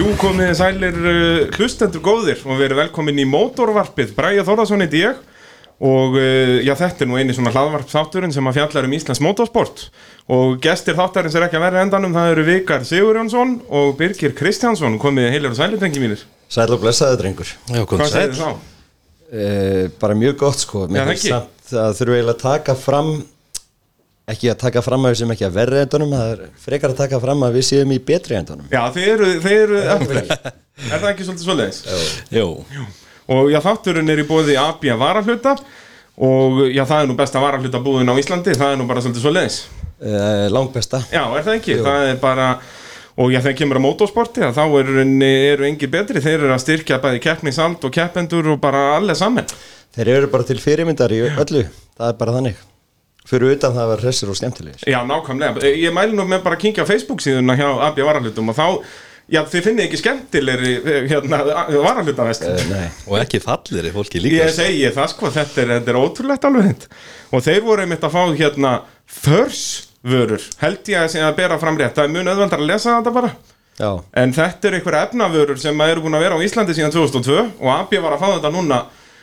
Nú komið þið sælir uh, hlustendur góðir og verið velkomin í mótorvarpið Bræja Þórðarsson heiti ég og uh, já, þetta er nú eini svona hlaðvarp þátturinn sem að fjallar um Íslands motorsport og gestir þáttarins er ekki að vera endanum það eru Vikar Sigurjónsson og Birgir Kristjánsson komið heilir og sælir drengi mínir Sæl og blessaði drengur Já, kom Hvað segir sæl þið þá? e, Bara mjög gott sko Já, Mér það finnst ekki. samt að þurfum eiginlega að taka fram Ekki að taka fram að við sem ekki að verri endunum Það er frekar að taka fram að við séum í betri endunum Já, þeir eru, þeir eru öll Er það ekki svolítið svoleiðis? Jú, Og já, þátturinn er í bóði AB varahluta og já, það er nú besta varahluta á Íslandi, það er nú bara svolítið svoleiðis e, Langbesta Já, er það ekki? Það er bara og já, þegar kemur að mótorsporti að þá eru, eru engir betri, þeir eru að styrkja bæði keppnisald og keppendur og bara alle saman Þeir eru bara til fyrirmyndar í öllu Það er bara þannig Fyrir utan það að vera hressir og skemmtilegir Já, nákvæmlega, ég mæli nú með bara að kingja Facebook síðuna hjá AB varahlutum og þá já, þið finnið ekki skemmtilegri eh, hérna, varahlutavest e, Nei og ekki fallir í fólki líka Ég segi það sko, þetta er, þetta er ótrúlegt alveg hend og þeir voru einmitt að fá hérna þörsvörur, held ég að, sé að bera fram rétt, það er mun öðvöldar að lesa þetta bara Já En þetta eru einhverja efnavörur sem eru búin að vera á Íslandi síðan 2002 og AB var að fá þetta núna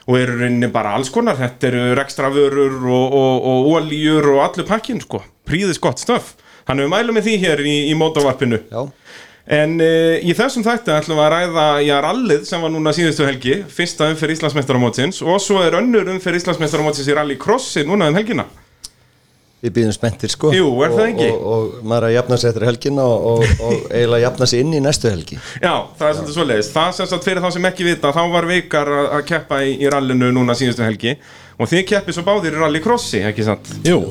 og eru rauninni bara alls konar, þetta eru rekstravörur og, og, og olíur og allur pakkin sko, príðis gott stöf. Þannig við mælum með því hér í, í mótavarpinu. Já En uh, í þessum þætti ætlum við að ræða í rallið sem var núna síðustu helgi, fyrsta umferð Íslandsmeistaramótsins og svo er önnur umferð Íslandsmeistaramótsins í rallycrossi núna um helgina. Við býðum spenntir sko Jú, er það ekki? Og, og, og maður er að jafna sig eftir helgin og, og, og eiginlega jafna sig inn í næstu helgi Já, það er svolítið svoleiðis. Það sem sagt fyrir þá sem ekki vita, þá var Veikar að að keppa í, í rallinu núna síðustu helgi og þið keppið svo báðir í rallycrossi, ekki sant? Jú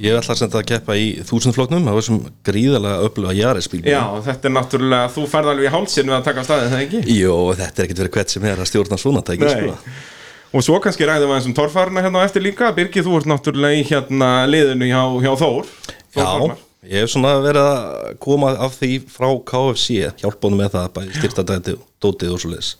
Ég ætla sem þetta að keppa í þúsundfloknum það var sem gríðalega öfluga jarisbíl Já, þetta er náttúrulega, þú færð alveg í hálsinn við að taka staðið, það ekki? Jó, þetta er ekkert verið hvert sem er að stjórna svona tæki sko. Og svo kannski ræðum við aðeins um torfarina hérna á eftir líka. Birgir, þú ert náttúrulega í hérna liðinu hjá, hjá Þór. Þór Já, Þormar. ég hef svona verið að koma af því frá KFC hjálpunum með það, bæði styrtadæti dótið og svo leis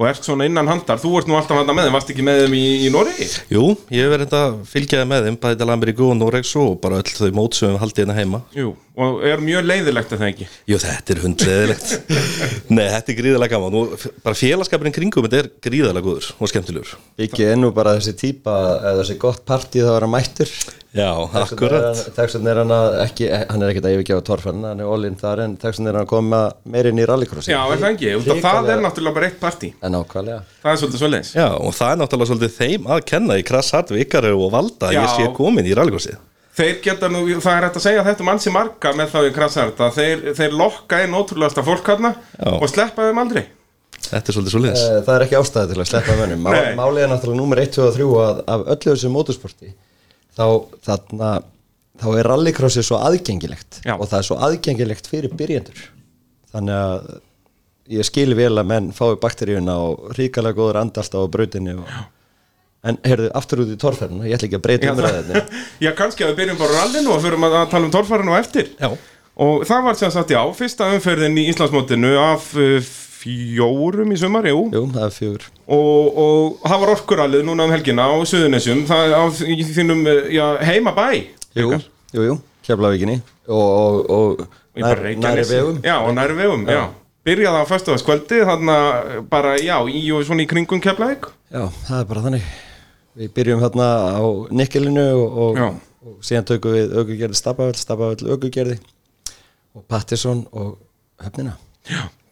Og ert svona innan handar, þú ert nú alltaf handa með þeim, varst ekki með þeim í, í Noregi? Jú, ég hef verið þetta að fylgjaði með þeim bæði til Ameríku og Noregs og bara öll þau mót sem við haldið hérna heima Jú, og er mjög leiðilegt að það ekki. Jú, þetta er hundleðilegt Nei, þetta er gríðalega gaman og f- bara félagskapurinn kringum þetta er gríðalega góður og skemmtilegur Ekki ennú bara þessi típa eða þessi gott partí það var að mættur Já, akkurat Texan er hann að ekki, hann er ekkert að yfirgefa torfann hann er ólinn þar en Texan er hann að koma meirinn í rallycrossi Já, er það ekki? Út af Það er náttúrulega bara eitt partí. En ákvæðlega Það er svolítið svoleiðis. Já, og það er náttúrulega svolítið þeim að kenna í krass hart vikaru og valda að ég Já. sé komin í rallgósið Þeir geta nú, það er hægt að segja þetta um ansi marga með það við krassart að þeir, þeir lokka inn ótrúlegasta fólk hérna Já. og sleppa þeim aldrei Þetta er svolítið svolítið Eh, Það er ekki ástæði til að sleppa mönnum Má, Nei. Málið er náttúrulega númer 1, 2 og 3 að af öllu þessu mótorsporti þá þarna þá er rallycrossi svo aðgengilegt Já. og það er svo aðgengilegt fyrir byrjendur þannig að ég skil vel að menn fái bakteríuna og ríkalega góður andalt á brautinni og... en heyrðu, aftur út í torferðinu ég ætla ekki að breyta umræðinni Hérna. Já, kannski að við byrjum bara á rallinu og förum að, að tala um torfærinu á eftir Já, Og það var sem sagt, já, fyrsta umferðin í Íslandsmótinu af uh, fjórum í sumar, jú Jú, það er fjögur og, og það var orkurallið núna um helgina á Suðunesjum, það á þ- í þínum, uh, já, heimabæ Jú, jú, jú, keflavíkinni og, og, og Í bara Reykjanesi. vegum Já, og næri vegum, já, Byrjaði á föstudagskvöldi, þannig að bara, já, í og svona í kringum keflaðik Já, það er bara þannig Við byrjum hérna á nikkelinu og, Já. og, og síðan tökum við aukugerði Stabafell, Stabafell aukugerði og Pattisson og höfnina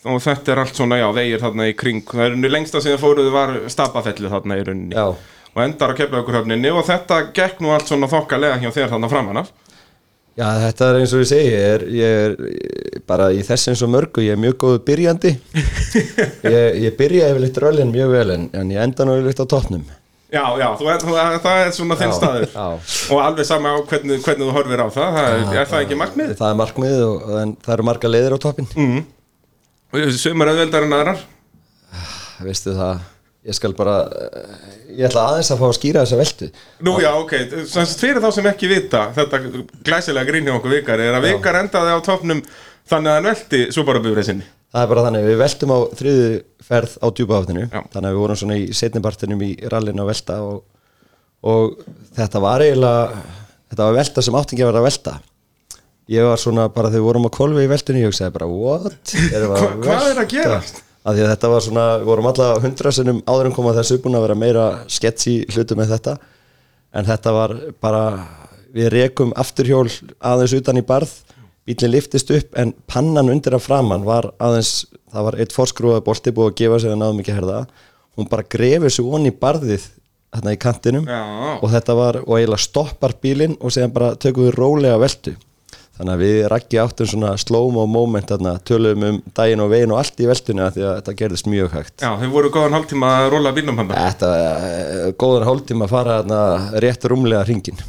og þetta er allt svona, já, vegir þarna í kring það er unni lengsta sem þið fóruðu var stapafellu þarna í rauninni Já. og endar á keflaugurhöfninni og þetta gekk nú allt svona þokkalega hjá þér þarna framan af Já, þetta er eins og ég segi ég er, ég er eh, bara í þess eins og mörgu ég er mjög góð byrjandi ég, ég byrja yfirleitt rölinn mjög vel en, en ég enda nú yfirleitt á toppnum já, já, þú, þú, það er svona þinn Já, staður já. og alveg sama á hvernig, hvernig þú horfir á það, það er, er það ekki markmið Það er markmið og, en það eru marga leiðir á toppin mm. sumar auðveldar en aðrar Veistu það, ég skal bara eh, ég ætla aðeins að fá að skýra þessa veltu Nú já, ok, sem sagt fyrir þá sem ekki vita þetta glæsilega grín hjá okkur vikar er að vikar endaði á topnum þannig að hann velti súbarabifrið sinni Það er bara þannig, við veltum á þriðu ferð á djúpaháttinu, Já. þannig að við vorum svona í setnipartinum í rallinu að velta og, og þetta var eiginlega þetta var velta sem áttingi að vera að velta ég var svona bara þegar við vorum að kolfi í veltinu ég hugsaði bara what Erum við Hva- hvað er að velta? gerast? Af því að þetta var svona, við vorum alltaf hundra sinnum áður en koma þessu búin að vera meira sketchy hlutum með þetta en þetta var bara við rekum afturhjól aðeins utan í barð bílinn liftist upp en pannan undir að framann var aðeins það var eitt forskrúað bolti búið að gefa sig að náðum ekki að herða hún bara grefur sig onni í barðið þarna í kantinum Já. og þetta var, og eiginlega stoppar bílinn og séðan bara tökum við rólega veltu þannig að við rakki áttum svona slow-mo moment þarna, tölum um daginn og veginn og allt í veltuna því að þetta gerðist mjög hægt Já, þau voru góðan hálftíma að róla bílnum hann Þetta er góðan hálftíma að fara þarna rétt rúmlega hringin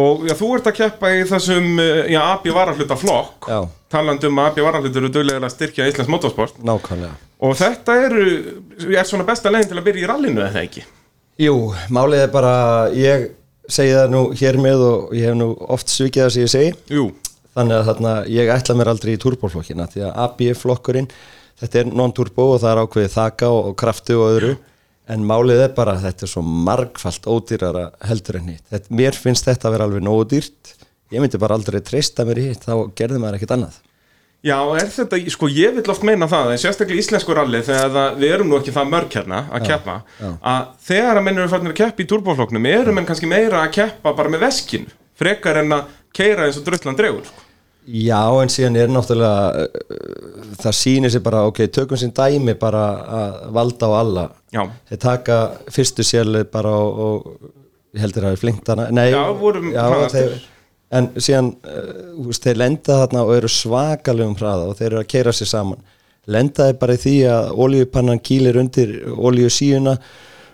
Og já, þú ert að keppa í þessum eh, já, AB varahluta flokk Já. talandi um að AB varahlutur eru duglega að styrkja Íslands motorsport Nákvæmlega og þetta eru, er svona besta leiðin til að byrja í rallinu eða ekki Jú, málið er bara ég segi það nú hér með og ég hef nú oft svikið það sem ég segi Jú, þannig að þarna, ég ætla mér aldrei í turboflokkina því að AB flokkurinn þetta er non-turbo og það er ákveðið þaka og, og kraftu og öðru en málið er bara að þetta er svo margfalt ódýrara heldur en hitt þetta, mér finnst þetta að vera alveg nógu dýrt ég myndi bara aldrei treysta mér í hitt þá gerði maður ekkert annað já, er þetta, sko ég vil oft meina það en sérstaklega í íslensku ralli þegar það, við erum nú ekki það mörg hérna að keppa já. að þegar að menn eru farnir að keppa í turboflokknum eru menn kannski meira að keppa bara með veskin frekar en að keira eins og drullan dregur sko. Já, en síðan er náttúrulega uh, það sýnir sér bara, ok, tökum sér dæmi bara að valda á alla Já. þeir taka fyrstu sérlið bara og, og ég heldur að það er flinkt hana Nei, Já, vorum já, hraðastir. þeir, en síðan uh, þú veist, þeir lenda þarna og eru svakalegum hraða og þeir eru að keira sér saman lendaði bara í því að olíupannan kýlir undir olíu síuna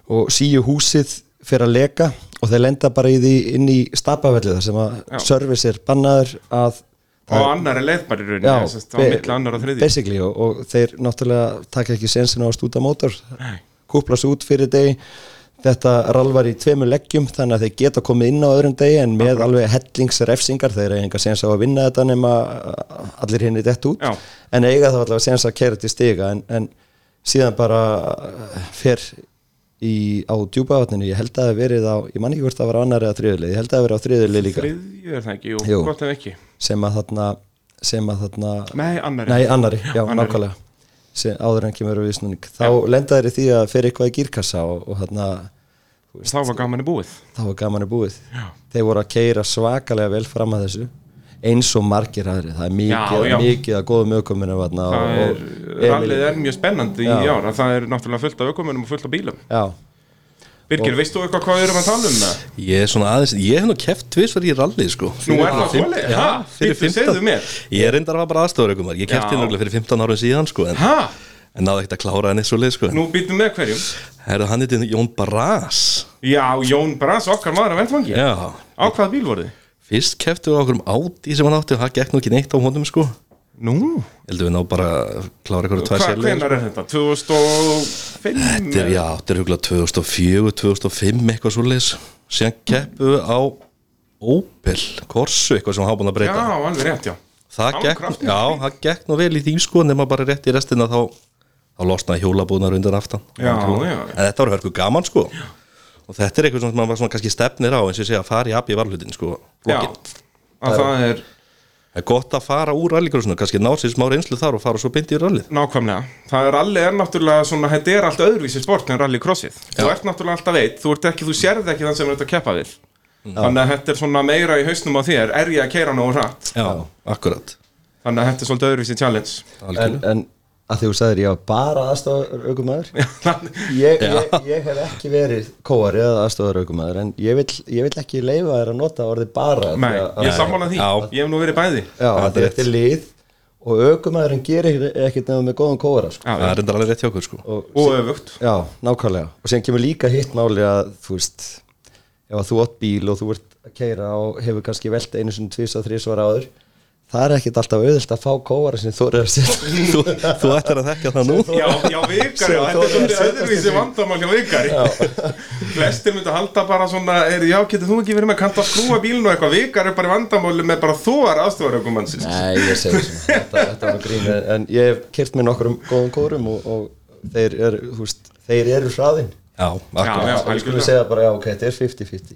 og síu húsið fyrir að leka og þeir lenda bara í því inn í stapafellið þar sem Já. að service er bannaður að og annar er leið bara í rauninni Já, sem sagt, á milli annar og þriði basically og, og þeir náttúrulega taka ekki sensin á að stúta mótor Nei. kúpla svo út fyrir degi þetta ralvar í tveimur leggjum þannig að þeir geta komið inn á öðrum degi en með alveg hellingsrefsingar þeir eiga enga sens á að vinna þetta nema uh, allir hinn er dett út Já. en eiga þá allavega sens að kæra til stiga en, en síðan bara uh, fer í, á djúpavatninu ég held að það hafi verið á, ég man ekki hvort það var á annar eða þriðulegi, ég held að það hafi verið á þriðulegi líka þriðju er það ekki, jú, Jú. gott ef ekki sem að þarna sem að þarna nei, annar Nei, annari, já, Annarri. nákvæmlega sem áður en kemur við snúning þá lenda þeir í því að fer eitthvað í gírkassa og, og þarna, þá var gaman í búið þá var gaman í búið Já. þeir voru að keira svakalega vel fram að þessu eins og margir aðri það er mikið, Já, já. mikið að góðum ökuminu þarna, Það og, er, og rallið er mjög spennandi í Já. ár að það er náttúrulega fullt af ökumunum og fullt af bílum já, Birgir, veist þú eitthvað hvað við erum að tala um það? Ég er svona aðeins, ég hef nú keft tvisvar í rally sko Nú Fyrir er það fimm- svoleiðis? Já, Ha? fyrir Bíddu, 15 segðu mér. Ég reyndar að var bara aðstofur ykkur maður Ég Já. kefti náttúrulega fyrir 15 árum síðan sko En, Ha? en náði ekkert að klára henni svo leið sko Nú býtum við hverjum Herðu, hann heiti Jón Brás Já, Jón Brass, okkar maður að vettfangi Já, Á hvaða bíl voruð þið? fyrst kefti við okkur um áti sem hann átti Og það gekk nú ekki neitt á honum sko Nú, Heldur við ná bara að klára ykkur tvær hvað, sérlega hvenar er þetta? 2005? Þetta er, já, þetta er huglega 2004, 2005 eitthvað svo leis Síðan keppu við á Opel, Corsu eitthvað sem hann hafa búin að Já, breyta alveg rétt, já það Hann var gekk, kraftur. já, það gekk nú vel í því sko nema bara rétt í restina þá þá losnaði hjólabúðnar undan aftan Já, já. en þetta var hörku gaman sko og þetta er eitthvað sem maður svona kannski stefnir á eins og ég segja að fara í abbi varlutin sko Já, flokkin. að það er það er gott að fara úr rallykursinu kannski ná sér smá reynslu þar og fara svo beint í rallið Nákvæmlega, það er rally er náttúrulega svona, þetta er allt öðruvísi sport en rallycrossið Þú ert náttúrulega alltaf veit, þú ert ekki, þú sérð ekki þann sem þú ert að keppa við Mm. Þannig að þetta er svona meira í hausnum á þér, er ég að keira nógu hratt já, akkurat Þannig að þetta er svolítið öðruvísi challenge en, en að því þú sagðir ég var bara aðstofar ökumæður ég, ég, ég hef ekki verið kóari eða aðstofar ökumæður en ég vil, ég vil ekki leifa þér að nota orðið bara því Nei, að- að- ég sammála því, Já. ég hef nú verið bæði Já, Það er þetta er rétt. eftir lið og aukumæðurinn gerir ekkert nefnum með góðum kóra sko. Já, það er reyndar alveg rétt hjá okkur sko og, og öfugt Já, nákvæmlega og síðan kemur líka hitt máli að þú veist, ef að þú átt bíl og þú ert að keira og hefur kannski velt einu sinni tvís og þrís var áður það er ekkert alltaf auðvilt að fá kóra sem þú eru að setja þú, þú ættir að þekka það nú Já, já, vikari, Sem já, þetta er þorir svolítið að setjast öðruvísi í- vandamál hjá vikari Flestir myndi halda bara svona, er, já, getur þú ekki verið með kanta að skrúa bílinu eitthvað Vikari er bara í vandamáli með bara þóar aðstofarökumannsins Nei, ég segi svona, þetta, þetta var grín en, en ég hef kert með nokkrum góðum kórum og, og þeir eru, þú veist, þeir eru hraðin já, akkurat Já, Svo við skulum algjörlega. segja bara, já, ok, þetta er 50-50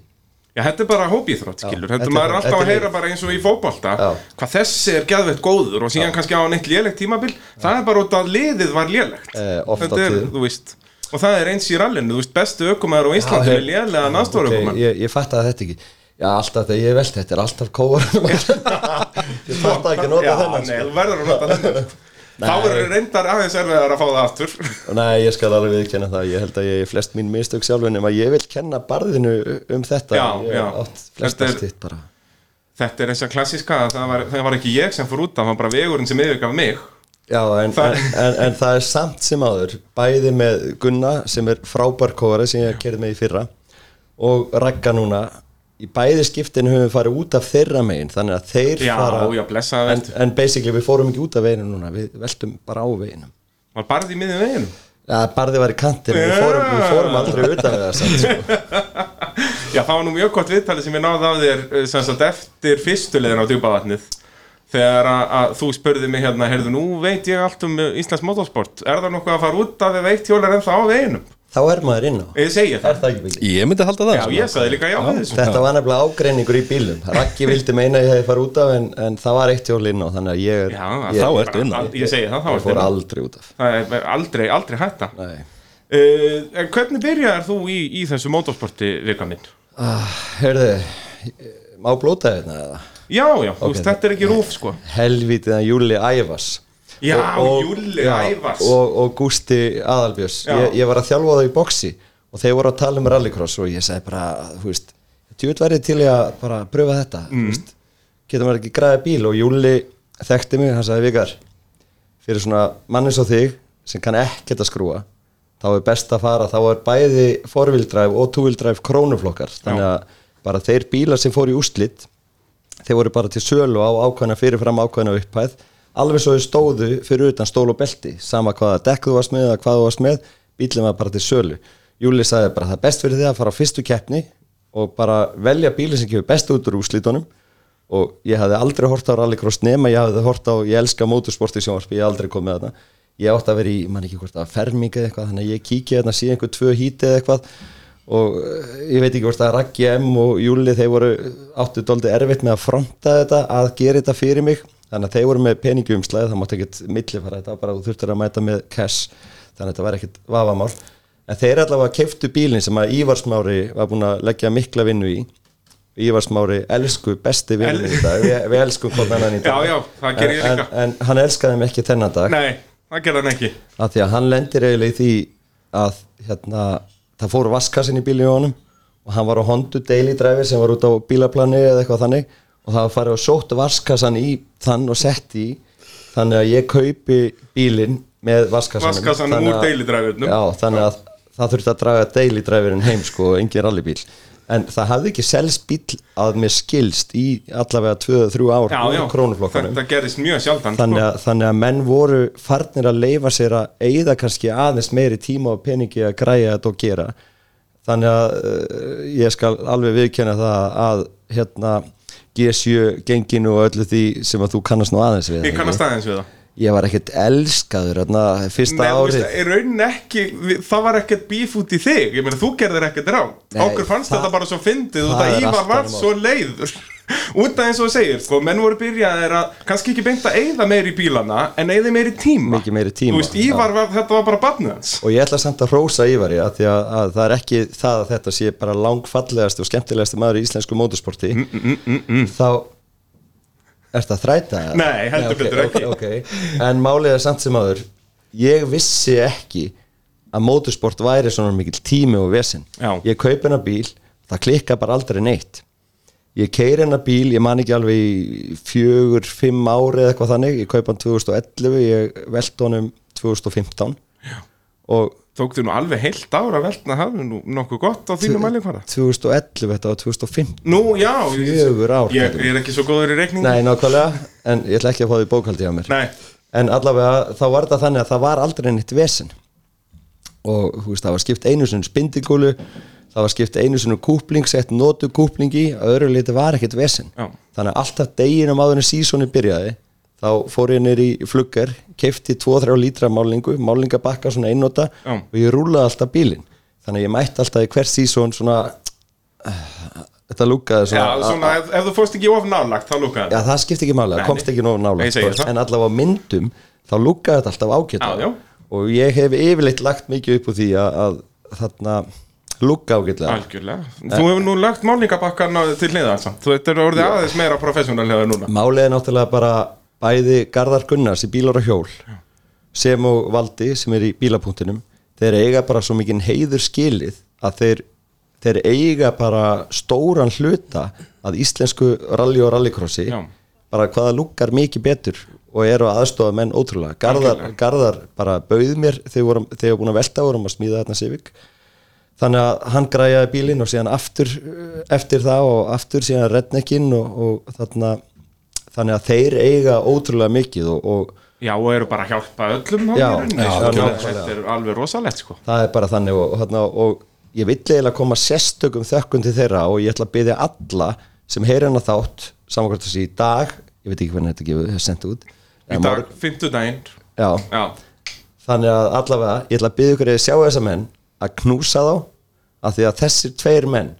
Já, þetta er bara hópíþrótt, skilur, þetta, þetta er maður er bara- alltaf að þetta er- heyra bara eins og í fótbolta Já. hvað þessi er geðveitt góður og síðan kannski á hann eitt lélegt tímabil það er bara út af að liðið var lélegt Eh, oft á þetta er, tíðum. þú veist og það er eins í rallinu, þú veist, bestu ökumæður á Íslandi Já, er lélega náttúru Ok, ökumæður ég, ég fatt að þetta ekki Já, alltaf þegar ég velti, þetta er alltaf kóar Ég fatt að ekki að nota þennan Nei, sko. þú verður að nota þennan sko. Þá eru reyndar aðeins erfiðar að fá það aftur Nei, ég skal alveg viðkenna það Ég held að ég er flest mín mistök sjálfur nema ég vil kenna barðinu um þetta Já, Ég já. átt flest Þetta er- allt hitt bara Þetta er eins og klassíska, að það var, það var ekki ég sem fór út það var bara vegurinn sem yfirgaf mig Já, en, Það- en, en, en það er samt sem áður bæði með Gunna sem er frábær kóari sem ég kerði með í fyrra og Ragga núna í bæði skiptin höfum við farið út af þeirra megin þannig að þeir Já, fara já, blessaða en, vertu. en basically við fórum ekki út af veginu núna við veltum bara á veginum Var barði í miðjum veginum Já, barði var í kantinu, við fórum, við fórum aldrei utan við það samt, sko. Já, það var nú mjög gott viðtalið sem ég náði af þér eh, sem sagt eftir fyrstuleiðin á djúpavatnið þegar að, að þú spurði mig hérna, heyrðu, nú veit ég allt um eh, Íslands motorsport, er það nokkuð að fara út af ef eitt hjól er ennþá á veginum? Þá er maður inn á Ég segi Er það. það ekki mikið? Ég myndi halda það Já, sko. ég sagði líka já við þessu. Þetta var nefnilega ágreiningur í bílum Raggi vildi meina að ég hefði farið út af en, en það var eitt hjól inn á þannig að ég, er- Já, ég, þá bara- ertu inn á. al- Ég segi það, þá ég ertu fór inn á. aldrei út af Það er aldrei, aldrei hætta. Nei Uh, en hvernig byrjar þú í, í þessu motorsporti vika minn? Ah, heyrðu, má blóta hérna eða? Já, já, þú veist, þetta er ekki rúf, sko. Helvítið að Júli Ævars Já, Júlli Ævars. Og, og Gústi Aðalbjörs Já. ég, ég var að þjálfa þau í boxi og þeir voru að tala um rallycross og ég sagði bara, þú veist tjúvill værið til ég að bara pröfa þetta mm. veist, getum við ekki græða bíl og Júli þekkti mig, hann sagði vikar fyrir svona mann eins og þig sem kann ekkert að skrúa þá er best að fara, þá er bæði forvildræf og túvildræf krónuflokkar þannig að bara þeir bílar sem fóru í úslit þeir voru bara til sölu á ákvæðna fyrirfram ákvæðna upphæð alveg svo þau stóðu fyrir utan stól og belti sama hvaða dekk þú varst með eða hvað þú varst með bílum var bara til sölu Júli sagði bara það er best fyrir þig að fara á fyrstu keppni og bara velja bíli sem gefur best út úr úslitunum og ég hafði aldrei hort á rallycross nema ég hafði hort á, ég elska motorsport í sjónvarpi, ég hef aldrei komið að það ég átti að vera í, ég man ekki hvort að ferming eða eitthvað, þannig að ég kíkja þarna síðan einhver tvö híti eða eitthvað og eh, ég veit ekki hvort að Raggi M og Júli þeir voru áttu dóldi erfitt með að fronta þetta, að gera þetta fyrir mig þannig að þeir voru með peningumslæð það mátt ekkert millifara þetta, bara þú þurftir að mæta með cash, þannig að þetta var ekkert vafamál, en þeir allavega keiftu bílinn sem að Ívarsmári var búin að leggja mikla vinnu í Ívarsmári elsku besti vinnu í dag, við, við elskum hvort annan í dag Já, já, það geri ég En- líka. en, en hann elskaði mig ekki þennan dag Nei, það gerði hann ekki. að því að hann lendir eiginlega í því að hérna, það fór vaskasinn í bílinu í honum og hann var á Hondu Daily Driver sem var út á bílaplani eða eitthvað þannig og það var farið og sótt vaskassan í þann og sett í þannig að ég kaupi bílinn með vaskassanum Vaskassanum Þannig úr að- Daily Driver-num. Já, þannig að það þurfti að draga Daily Driverinn heim sko og engin rallybíl en það hafði ekki selst bíl að mér skilst í allavega 2-3 ár Já, úr já, krónuflokkunum þetta gerðist mjög sjaldan, sko. þannig að, þannig að menn voru farnir að leifa sér að eigða kannski aðeins meiri tíma og peningi að græja þetta og gera þannig að uh, ég skal alveg viðkjanna það að hérna G7 genginu og öllu því sem að þú kannast nú aðeins við Ég kannast aðeins við það. ég var ekkert elskaður hérna, fyrsta Nei, þú veist, árið í rauninni ekki, við- það var ekkert bíf út í þig, ég meina þú gerðir ekkert rá Nei, Okkur fannst það- þetta bara svo fyndið það út að er Ívar allt var annað mál. svo leiður Út af eins og þú segir, sko, menn voru byrjaðir að, kannski ekki beint að eigða meiri í bílana En eigði meiri tíma Mikið meiri tíma, Þú veist, Ívar, var, þetta var bara barnið hans og ég ætla samt að hrósa Ívari að því að, að það er ekki það að þetta sé bara langfallegast og skemmtilegast maður í íslensku mótorsporti Mm, þá ertu að þræta eða? Nei, heldur ok, betur ekki. ok, ok. en málið er samt sem aður ég vissi ekki að mótorsport væri svona mikil tími og vesinn Já. ég kaup hennar bíl, það klikka bara aldrei neitt ég keir hennar bíl, ég man ekki alveg í fjögur, fimm ári eða eitthvað þannig, ég kaup hann 2011 ég velt honum 2015 Já. og Tóktu nú alveg heilt ára að veltna það er nú nokkuð gott á þínu mæli hvaða 2011 þetta var 2015 Nú, já, ég, Fjögur ár, ég, kallar. ég er ekki svo góður í reikning nei nákvæmlega, en ég ætla ekki að fá því bókaldi á mér Nei. en allavega þá var það þannig að það var aldrei neitt vesen og þú veist, það var skipt einu sinni spindigúlu það var skipt einu sinni kúpling sett notu kúpling í, að öðru liti var ekkert vesen Já. þannig að alltaf deginum áður en sísoni byrjaði þá fór ég nýr í fluggar keifti 2-3 lítra málingu málingabakka svona einnota Já. og ég rúlaði alltaf bílinn þannig að ég mætti alltaf í hver sísón svona eh, þetta lúkaði Já, svona, svona, ef, ef þú fórst ekki of nálagt, þá lúkaði já, það skipti ekki mála, Nei, komst nei. ekki nóg nála Ég segi það. en allavega á myndum þá lúkaði þetta alltaf Já, já. ágætlega og ég hef yfirleitt lagt mikið upp úr því að, að þarna lúka ágætlega Algjörlega. Þú hefur nú lagt málningabakkan til hliða samt. Þú þetta er orðið aðeins meira professionallega núna. Málið er náttúrulega bara bæði Garðar Gunnars í bílar og hjól sem og Valdi sem er í bílapunktinum þeir eiga bara svo mikinn heiður skilið að þeir, þeir eiga bara stóran hluta að íslensku rally og rallycrossi Já. bara hvaða lukkar mikið betur og eru að aðstofa menn ótrúlega Garðar, Garðar bara bauð mér þegar vorum, þegar vorum búin að velta vorum að smíða þarna Civic þannig að hann græjaði bílinn og síðan aftur eh, eftir það og aftur síðan rednekkinn og, og þarna þannig að þeir eiga ótrúlega mikið og, og Já, og eru bara að hjálpa öllum þarna Já, í rauninni, já, sko. algjörlega. Þetta er alveg rosalegt, sko. það er bara þannig og, og, þarna, og ég vill eiginlega koma sérstökum þökkun til þeirra og ég ætla að byggja alla sem heyra hana þátt samankvæmt þessi í dag, ég veit ekki hvernig þetta gefur hefur sendt út Í Eða dag, morgun- fimmtudaginn. já, Já, þannig að allavega ég ætla að byggja ykkur að sjá þessa menn að knúsa þá af því að þessir tveir menn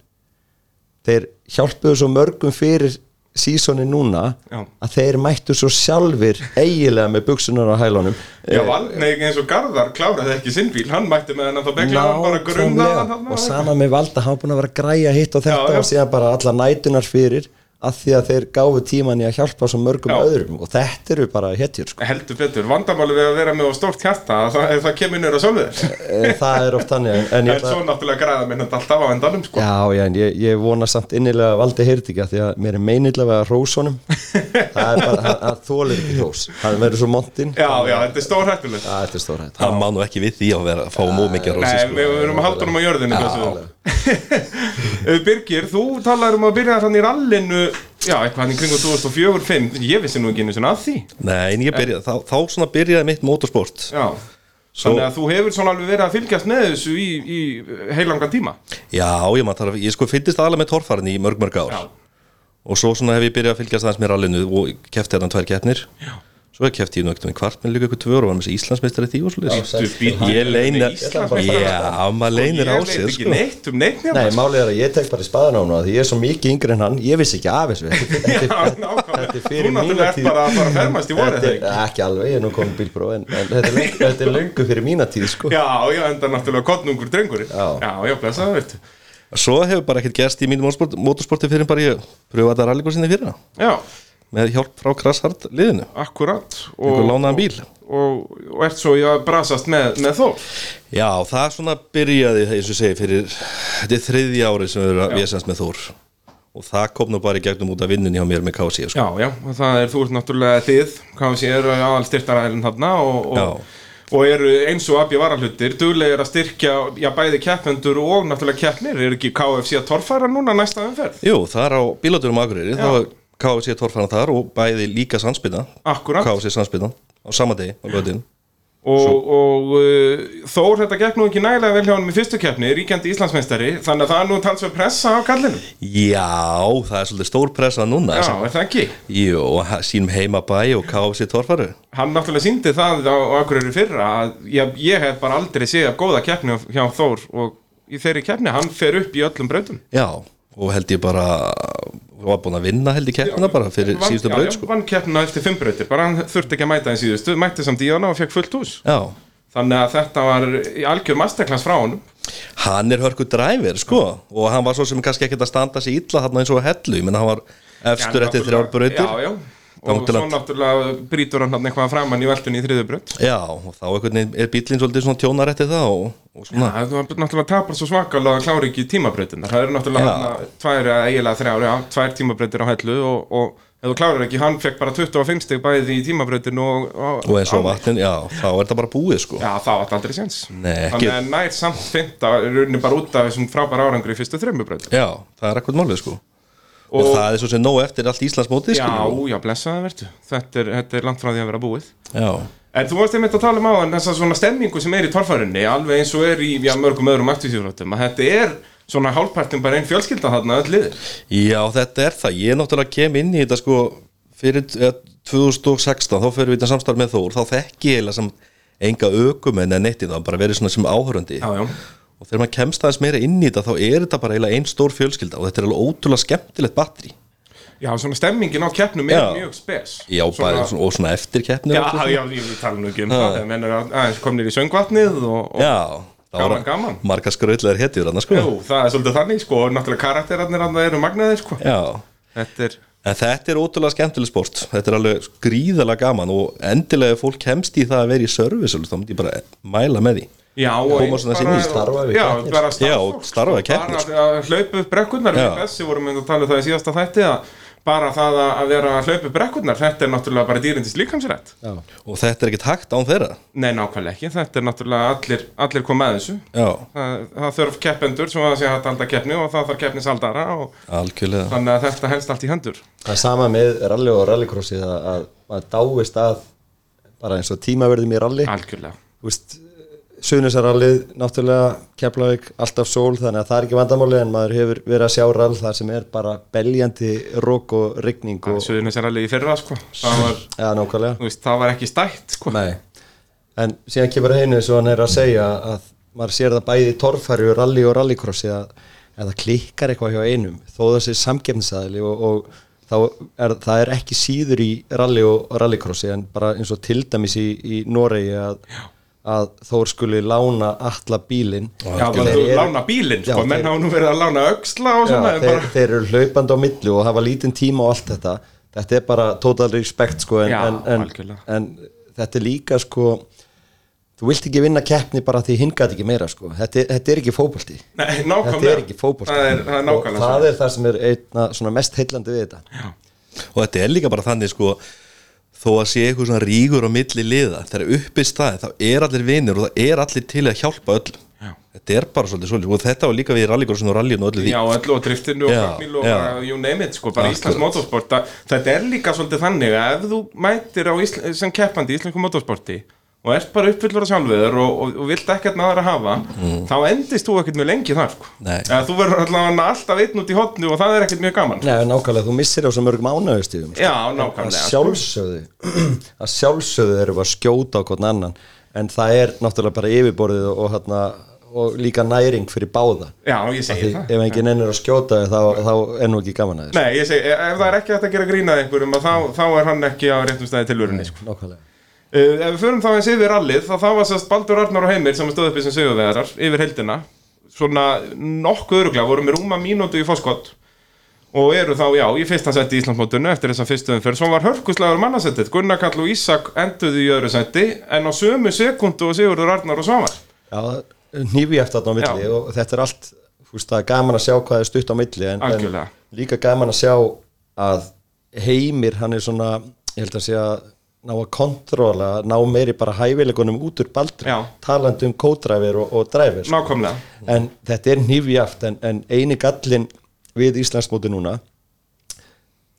þeir hjálpuðu svo mörgum fyrir sísoni núna Já. að þeir mættu svo sjálfir eigilega með buksunar á hælunum já val, nei, eins og Garðar kláraði ekki sinn bíl, hann mætti með hennan þá begla hann bara grunnaðan Nákvæmlega. og sama með valda, hann var búin að vera að græja hitt og þetta Já, já. og síðan bara alla nætunar fyrir að því að þeir gáfu tíman í að hjálpa svo mörgum Já. öðrum og þetta eru bara hetjur sko. Heldur betur, vandamáli við að vera með á stórt hjarta að það, ef það kemur nýra sjálfur Eh, það er oft þannig en- en En ég ætla svo náttúrulega græða minn þetta alltaf á endanum sko. Já, já, en ég, ég vona samt innilega að Valdi heyrði ekki að því að mér er meinilega að rós honum það er bara, hann, hann þólir ekki rós hann verður svo montinn já, já, þetta er stór hættulegt Já, þetta er stóra þetta Það má nú ekki við því að vera að fá mjög mikið sko. sko. að Nei, við rósi erum að halda honum á jörðinu þessu. Eh, Birgir, þú talar um að byrja hann í rallinu Já, eitthvað hann í kringum 2004-05 Ég vissi nú ekki einu sinna að því Nei, en ég byrja, þá, þá svona byrjaði mitt motorsport Já Svo- Þannig að þú hefur svona alveg verið að fylgjast með þessu í, í heilangan tíma Já, ég maður þarf, ég sko fyndist aðalega með torfarin í mörg mörg ár Já. Og svo svona hef ég byrjað að fylgjast aðeins með rallinu og kefti hérna tvær keppnir Já Svo kefti ég nögtum í kvart með líka ykkur tvör og var með þessi Íslandsmeistari í því og svo Já, sæll. Þú býtt Ég leina, já, maður leinir á Ég sér veit ekki sko. neitt um neitt Nei, nefnir málið er að ég tek bara í spaðan á hún því ég er svo mikið yngri en hann, ég vissi ekki af þessu Já, Þetta er- nákvæmlega þetta er Þú fyrir náttúrulega mína ert tíð bara að fara að fermast í vorið Þetta þegar er ekki alveg, ég er nú komin bílbró en, en þetta, er löngu, þetta er löngu fyrir mína tíð sko. Já, já, enda náttúrulega kottnungur drengurinn Já. já, já blessaður veitu Svo hefur bara ekkert gerst í mínu motorsport- motorsporti fyrir en bara ég pröfaði að rallygursinni fyrir það Já, með hjálp frá Krashard liðinu akkurat ykkur lánaðan bíl og, og ert svo í að brasast með, með þó Já, það svona byrjaði eins og ég segi fyrir þetta er þriðja árið sem við erum að vesast með Þór og það kom nú bara í gegnum út af vinnunni hjá mér með KSI sko. Já, já, og það er, þú ert náttúrulega þið, hvað sé, eru aðal styrtaræðin þarna og, og, og eru eins og abja varahlutir, duglegir að styrkja já, bæði keppendur og náttúrulega keppnir, er ekki KFC að torfæra núna næsta umferð? Jú, það er á bílaturum Akureyri þá var KSI torfana þar og bæði líka sandspinna Akkurat, KSI sandspinna á sama degi á löðin og, og uh, Þór þetta gekk nú ekki nægilega vel hjá hann með fyrstu keppni, ríkjandi Íslandsmeistari, þannig að það er nú talsveg pressa á kallinum. Já, það er svolítið stór pressa núna sko. Já, er það ekki? Jú, og ha- sínum heimabæ og KFC torfaru Hann náttúrulega síndi það á, á Akureyri fyrra að ég, ég hef bara aldrei séð af góða keppni hjá Þór og í þeirri keppni, hann fer upp í öllum brautum. Já, og held ég bara var búin að vinna held ég keppina bara fyrir Vann- síðustu já, braut já, sko. vann keppnina eftir fimm brautir, bara hann þurfti ekki að mæta hann síðustu, mætti samt í hana og fekk fullt hús Já, þannig að þetta var í algjör masterclass frá honum hann er hörku dræfir sko og hann var svo sem kannski ekkert að standa sig illa þarna eins og að hellu, menn hann var efstur Já, náttúrulega- eftir þrjár brautir já, já, Þá og svo náttúrulega- náttúrulega brýtur hann hann eitthvað framann í veltunni í þriðu braut Já, og þá einhvern veginn er bílinn svolítið svona tjónar eftir það og, og svona það var náttúrulega tapar svo svakalega að klára ekki tímabrautin það eru náttúrulega Já. hann tvær eða eiginlega þrjár, já, tvær tímabrautir á hellu og, og ef þú klárar ekki, hann fekk bara 25 steg bæði í tímabrautin og, og, og eins og vatnin, já, þá er það bara búið sko Já, það var aldrei séns Nei, ekki. Þannig að nær samt fynda runni bara út af þessum frábæra árangri í fyrstu þremmubröð Já, það er ekkert málið sko og, Og- það er svo sem nóg eftir allt Íslandsmótið Já, sko já, blessaði vertu þetta er, þetta er langt frá því að vera búið já, En þú varst einmitt að tala um á hann þessa svona stemningu sem er í torfærinni alveg eins og er í já, mörgum öðrum aktífjóðröndum að þetta er svona hálfpartin bara einn fjölskylda þarna öll liðir Já, þetta er það. Ég náttúrulega kem inn í þetta sko fyrir eh, 2016, þá fyrir við þetta samstarf með Þór, þá þekki ég eiginlega samt enga ökumenn en neitt í það, bara verið svona sem áhörandi Já, já, og og þegar maður kemst aðeins meira inn í þetta þá er þetta bara eiginlega einn stór fjölskylda og þetta er alveg ótrúlega skemmtilegt batteri Já, svona stemmingin á keppnum er Já. mjög spes Já, bara, svona, og svona eftir keppni Já, og já, svona. já, ég tala nú ekki um það Þegar menn er að- aðeins komnir í söngvatnið og, og já það Gaman, var gaman. marga skrautlegar hetjur annars sko Jú, það er svolítið þannig sko og náttúrulega karakterarnir að það eru magnaðir sko Já, Þetta er en þetta er ótrúlega skemmtileg sport þetta er alveg gríðalega gaman og endilega ef fólk kemst í það að vera í service þá myndi ég bara mæla með því Já, og Koma eins svona bara- sinni í starfa við Já, keppnir. bara starfa Já, og starfa við keppnir, sko. Bara að hlaupa upp brekkurnar Við Já. Bessi vorum einhvern að tala um það í síðasta þætti að bara það að- að vera að hlaupa upp brekkurnar þetta er náttúrulega bara dýrindis líkamsrætt Já. og þetta er ekkert hægt án þeirra Nei, nákvæmlega ekki, þetta er náttúrulega allir, allir koma að þessu Já, Það, það þurf keppendur sem að sé hægt að halda keppni og það þarf keppnisaldara og algjörlega þannig að þetta helst allt í hendur Það er sama með rally og rallycrossi að, að maður dáist að bara eins og tímaverðum í rally Algjörlega Þú veist, Suðnisarallið náttúrulega Keflavík, alltaf sól þannig að það er ekki vandamáli en maður hefur verið að sjá rall þar sem er bara beljandi rók og rigning og Suðunins er alveg í fyrra sko það var, eða nákvæmlega þú veist, það var ekki stætt sko Nei, en síðan kemur að einu eins og hann er að segja að maður sér það bæði í torfæri og rally og rallycrossi að, að það klikkar eitthvað hjá einum þó það sé samgefnsaðli og, og þá er, það er ekki síður í rally og rallycrossi en bara eins og til dæmis í, í Noregi að, að þór skuli lána alla bílinn Já, það Þeir þú eru- lána bílinn Já, sko, menn þeir- hafa nú verið að lána öxla og Já, svona en þeir, bara, þeir eru hlaupandi á milli og hafa lítinn tíma og allt þetta þetta er bara total respect sko, en, Já, en, en, algjörlega. en þetta er líka sko þú vilt ekki vinna keppni bara því hinn gæti ekki meira sko. þetta, er- þetta er ekki fótbolti Nei, þetta nákvæmlega er ekki fótbolti Það er, það er og nákvæmlega það er það sem er einna, svona mest heillandi við þetta og þetta er líka bara þannig sko þó að sé eitthvað svona rígur á milli liða þegar uppi staði þá er allir vinir og það er allir til að hjálpa öll Já. þetta er bara svolítið svolítið og þetta var líka við rallykursun og rallyn og öllu því Já, öll og driftinu og Já, kakmíl og já. bara, you name it, sko, bara Akkurat. Íslands motorsport það- Þetta er líka svolítið þannig að ef þú mætir á Ísla, sem keppandi í Íslensku motorsporti og ert bara uppfyllur á sjálfur og, og, og vilt ekkert með aðra hafa þá endist þú ekkert mjög lengi þar sko. Nei. Eða þú verður allavega alltaf einn út í hotnu og það er ekkert mjög gaman sko. Nei, nákvæmlega, þú missir á svo mörgum ánægustíðum Já, að nákvæmlega sjálfsögðu að sjálfsögðu erum við að skjóta á hvern annan en það er náttúrulega bara yfirborðið og, hérna, og líka næring fyrir báða Já, ég Af því segi það ef enginn ennur að skjóta þig, þá, þá er nú ekki gaman að Nei, ég segi, e, ef það er ekki hægt að gera grínað einhverjum að þá, þá er hann ekki á réttum staði tilvörunni sko. þessu Nákvæmlega Uh, ef við förum þá eins yfir rallið þá það var sérst Baldur Arnar og Heimir sem stóð upp í sem sigurvegarar yfir heldina svona nokkuð öruglega voru með rúma mínútu í fóskott og eru þá já í fyrsta seti í Íslandsmótinu eftir þess að fyrstu umferð svo var hörkuslegar mannasettið Gunnar Kall og Ísak enduðu í öðru seti en á sömu sekundu og Sigurður Arnar og Svavar Nýfi eftir þarna á milli Já. og þetta er allt fúst, það er gaman að sjá hvað er stutt á milli en, en Algjörlega. líka gaman að sjá að heimir hann er svona ég held að sé að ná að kontróla ná meiri bara hæfileikunum út úr baldri Já. talandi um kódræfir og, sko. og dræfir nákvæmlega en þetta er nýfjaft en, en eini gallin við Íslandsmóti núna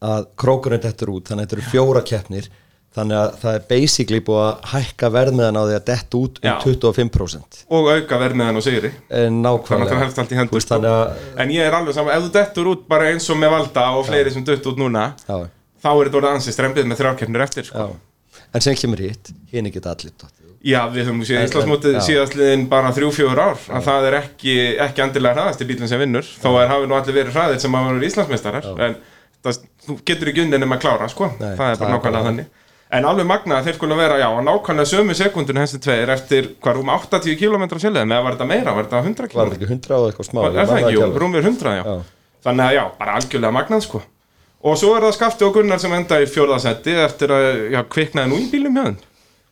að krókurinn dettur út þannig að þetta eru fjóra keppnir þannig að það er basically búið að hækka verðmiðan á því að dett út um Já. 25% og auka vermiðan og Sigri en þannig að það nákvæmlega helst allt í hendur sko. Þú veist, þannig að en ég er alveg saman ef þú dettur út bara eins og með Valda og fleiri sem dutt út núna já, þá er þetta orðið ansið strempið með þrjárkeppnir eftir sko. já. en sem kemur hitt, hinn ekki allir dottið. Já, við höfum séð En- Íslandsmótið en- já. síðastliðin bara 3-4 ár að það er ekki, ekki endilega hraðasti bílinn sem vinnur þó er hafi nú allir verið hraðir sem hafa verið Íslandsmeistarar en það, þú getur ekki undan nema að klára sko, Nei, það er það bara er nákvæmlega bara- þannig en alveg magnað að þeir skulle vera, já, á nákvæmlega sömu sekundun hensi tveir eftir hvað rúm 80 km sérleðum eða var þetta meira, var þetta 100 var km? það ekki 100 og eitthvað smá Var, er ég man það ekki, jú, alveg. rúmir 100 já. Já. þannig að já, bara algjörlega magnað sko og svo er það Skafti og Gunnar sem enda í fjórðasetti eftir að, já, kviknaði nú í bílum hjá þeim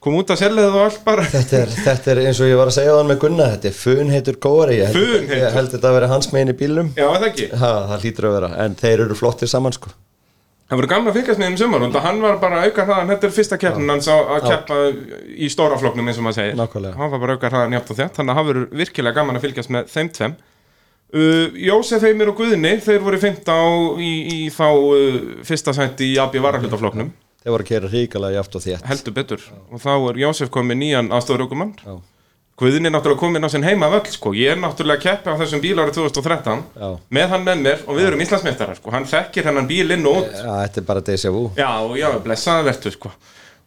kom út að sérleðu og allt bara þetta er, þetta er eins og ég var að segja á hann með Gunna þetta er fun heitur góri ég held, Funheitur. ég held þetta að vera hans megin í bílum Já, er það ekki. ha, það hlýtur að vera, en þeir eru flottir saman sko Það voru gamla fylgjast með þeim sumar og hann var bara að auka hraðan, þetta er fyrsta keppnin hans á- að keppa í stóra flokknum eins og maður segir Nákvæmlega. Hann var bara að auka hraðan hjátt og þjátt, þannig að hann verður virkilega gaman að fylgjast með þeim tveim uh, Jósef Heimir og Guðni, þeir voru fymta á, í, í þá uh, fyrsta sætti í AB Varahlutaflokknum þeir voru að kera ríkala jaft og þétt heldur betur og þá er Jósef komið nýjan aðstofrjókumann Já. Guðni er náttúrulega komin á sinn heima völl sko. ég er náttúrulega að keppa á þessum bíl árið 2013 Já. með hann með mér og við erum Íslandsmeistarar sko. hann þekkir hennan bíl inn og út Já, þetta er bara déjà vu Já, já, blessaða vertu sko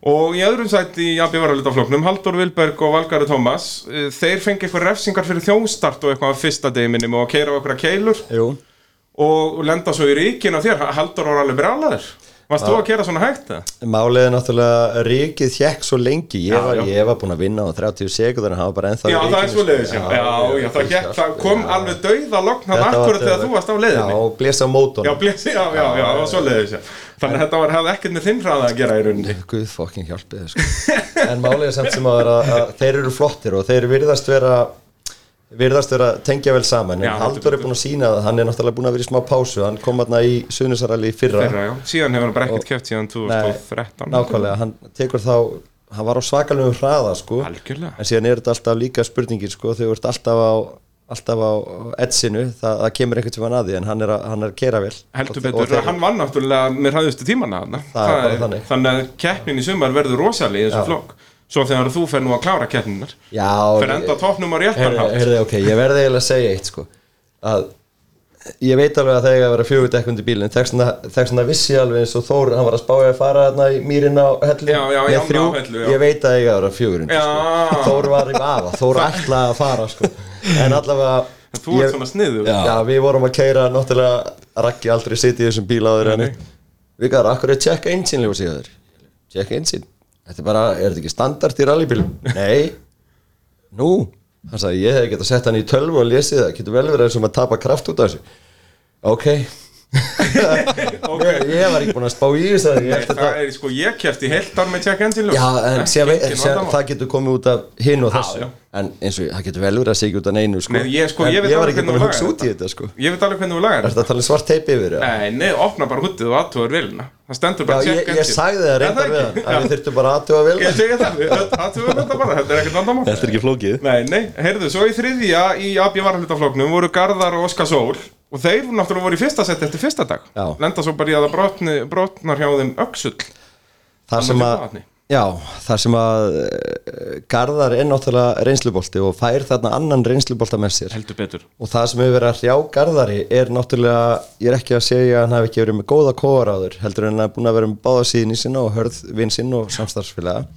Og í öðrum sætti í AB varalitafloknum, Haldur Vilberg og Valgari Tómas, eh, þeir fengi eitthvað refsingar fyrir þjónstart og eitthvað á fyrsta deiminum og að keira á okkur að keilur Jú, og lenda svo í ríkinu á þér. Haldur var alveg brálaður. Varst þú að kera svona hægt það? málið er náttúrulega ríkið þjekk svo lengi, ég, Já, var, já. ég var búin að vinna á 30 sekundur en hafa bara ennþá í Já, það er ríkinu, svo leiðis, já. sko. Já, já, það, gekk, það kom alveg dauða lokn hann Þetta var akkurat þegar dauða- þú varst á leiðinni. Já, og blés á Já, mótunum blessi, já, já, já, það var svo leiðis, já. Þannig að þetta var, hefði ekkert með þinn hraða að gera í rauninni. Guð fokkin hjálpið sko. En málið er samt sem að, að, að þeir eru flottir og þeir virðast vera virðast vera tengja vel saman en Já, Haldur er búin að sína það, hann er náttúrulega búin að vera í smá pásu, hann kom hann í Suðnisaralli í fyrra, Þeirra, já. Síðan hefur hann bara ekkert keft síðan Nei, 2013. nákvæmlega, hann tekur þá hann var á svakalum hraða sko Algjörlega. en síðan er þetta alltaf líka spurningir sko þegar þú ert alltaf á alltaf á edsinu, það, það kemur einhvern tíma að því en hann er að, hann er að kera vel Heldur Og- og betur, þeir- hann vann náttúrulega með hraðustu tímana hann. Það er bara þannig. að keppnin í sumar verður rosalega í þessum flokk. Svo þegar þú fer nú að klára keppninar. Já, Fer enda á toppnum á réttan hátt. Herði, ok, ég verði eiginlega að segja eitt sko að ég veit alveg að það eiga að vera fjögur dekkundi bíl en þess vegna- þess vegna vissi ég alveg eins og Þór hann var að spája að fara þarna í mýrin á hellu Já, já, Nei, já, þrjú, á Hellu, já. ég veit að það eiga að vera fjögur Já. sko. Þór var í vafa, Þór ætlaði að fara sko en allavega Þú ég- ert svona sniður. já. við vorum að keira náttúrulega Raggi aldrei sitið í þessum bíl áður en við gæðum, akkur er tjekka einsinn ljósið þér, tjekka einsinn þetta er bara, er þetta ekki standart í rallybílum nei, nú hann sagði, ég hef getað sett hann í tölvu og lesið það, getur vel verið sem að tapa kraft út af þessu ok ég, ég var ekki búin að spá í þessu ég held að Það þetta- er, sko, ég kefti heilt ár með Jack Angelou. Já, en síðan, vei- engin síðan, vandamál. það getur komið út af hinn og þessu já. En eins og, það getur vel verið að segja út af neinu sko. Nei, ég- sko, En ég veit ég var alveg ekki hvernig búin að þú hugsa lagar út í þetta sko Ég veit alveg hvernig þú lagar Er þetta að tala um svart teipi yfir? eða? Nei, nei, opna bara húttið og aðtúar vilna Það stendur Já, bara ég, ég sagði það reyndar við hann að við þurftum bara aðtjóða vel Ég segi það, aðtúar þetta bara, þetta er ekkert vandamál Þetta er ekki flókið Nei, nei, heyrðu, svo í þriðja í AB varhlutafloknum voru Garðar og Óskar Sól og þeir náttúrulega voru í fyrsta sett eftir fyrsta dag Já. Lenda svo bara í að það brotni, brotnar hjá þeim öxull þar sem að, já, þar sem að eh, Garðar er náttúrulega reynslubolti og fær þarna annan reynslubolta með sér Heldur betur og það sem hefur verið að hrjá Garðari er náttúrulega, ég er ekki að segja að hann hafi ekki verið með góða kóaráður heldur en hann er búin að vera með báða síðinni sinna og hörð vinn sinn og samstarfsfélaga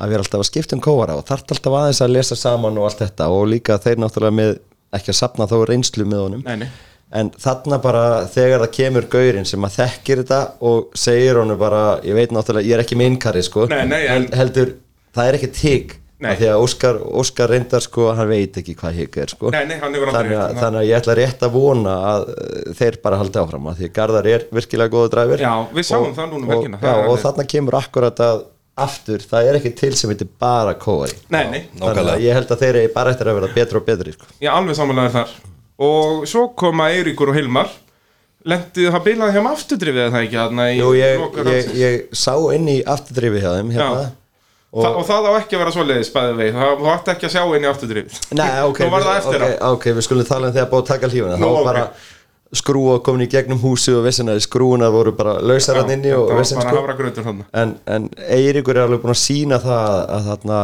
að vera alltaf að skipta um kóara og þarf alltaf aðeins að lesa saman og allt þetta og líka þeir náttúrulega með ekki að sapna þá reynslu með honum Nei, nei. en þarna bara þegar það kemur gaurinn sem að þekkir þetta og segir honum bara, ég veit náttúrulega ég er ekki með innkari sko Nei, nei, en- Held- heldur, það er ekki tík Nei. því að Óskar, Óskar reyndar sko hann veit ekki hvað hík er sko Nei, nei, hann hefur aldrei þannig, heyrt að, um það. þannig að ég ætla rétt að vona að uh, þeir bara haldi áfram að því að Garðar er virkilega góðu dræfur Já, við sáum það núna um og, helgina, það já, er og alveg- þarna kemur akkurat að aftur, það er ekki til sem heitir bara kóari Nei, nei, þannig að Nákvæmlega ég held að þeir eru bara eftir að vera betri og betri sko. ég alveg samanlega þar Og svo koma Eiríkur og Hilmar Lendi það bilaði hjá afturdrifið er það ekki þarna í Jú, ég, lok ég, rannsins? ég sá inn í afturdrifið hjá þeim hérna. Já. og, Þa, og það á ekki að vera svoleiðis bæði vei, það þú ætti ekki að sjá inn í afturdrifið Nei, ok, Nú var það við- eftir ok, ok, við skulum tala um þegar búið að taka hlífuna þá Nú, var ok. bara skrúa komin í gegnum húsi og vissinari skrúunar voru bara lausar hann inni og það vissin var bara sko hafra grötur hann en, en Eiríkur er alveg búin að sína það að þarna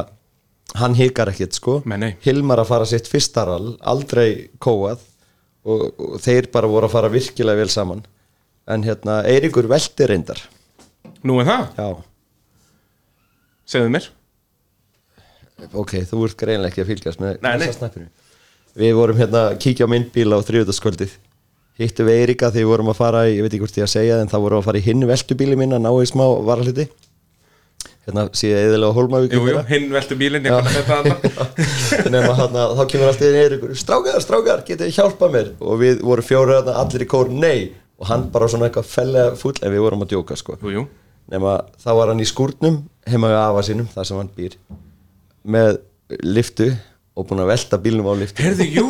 hann hikar ekkit sko Nei, nei. Hilmar að fara sitt fyrsta rall aldrei kóað og, og þeir bara voru að fara virkilega vel saman en hérna Eiríkur velti reyndar Nú er það, Já, segðu mér ok, þú ert greinlega ekki að fylgjast með Nei, nei. þessa snappinu Við vorum hérna að kíkja á myndbíl á þriðutaskvöldið Hittum við Eiríka þegar við vorum að fara í, ég veit ekki hvort ég að segja en þá vorum við að fara í hinn veltubíli mín að ná í smá varaliti hérna síðan eðilega Hólmavík í Jú, jú, fyrra. hinn veltu bílinn, ég kann að þetta þarna nema hann að þá kemur alltaf inn Eiríkur strákar, strákar, getið þið hjálpað mér og við vorum fjóra þarna allir í kór, nei og hann bara svona eitthvað fella fúll en við vorum að djóka sko Jú, jú, nema þá var hann í skúrnum heima við afa sínum, þar sem hann býr með liftu og búinn að velta bílnum á liftu heyrðu, jú,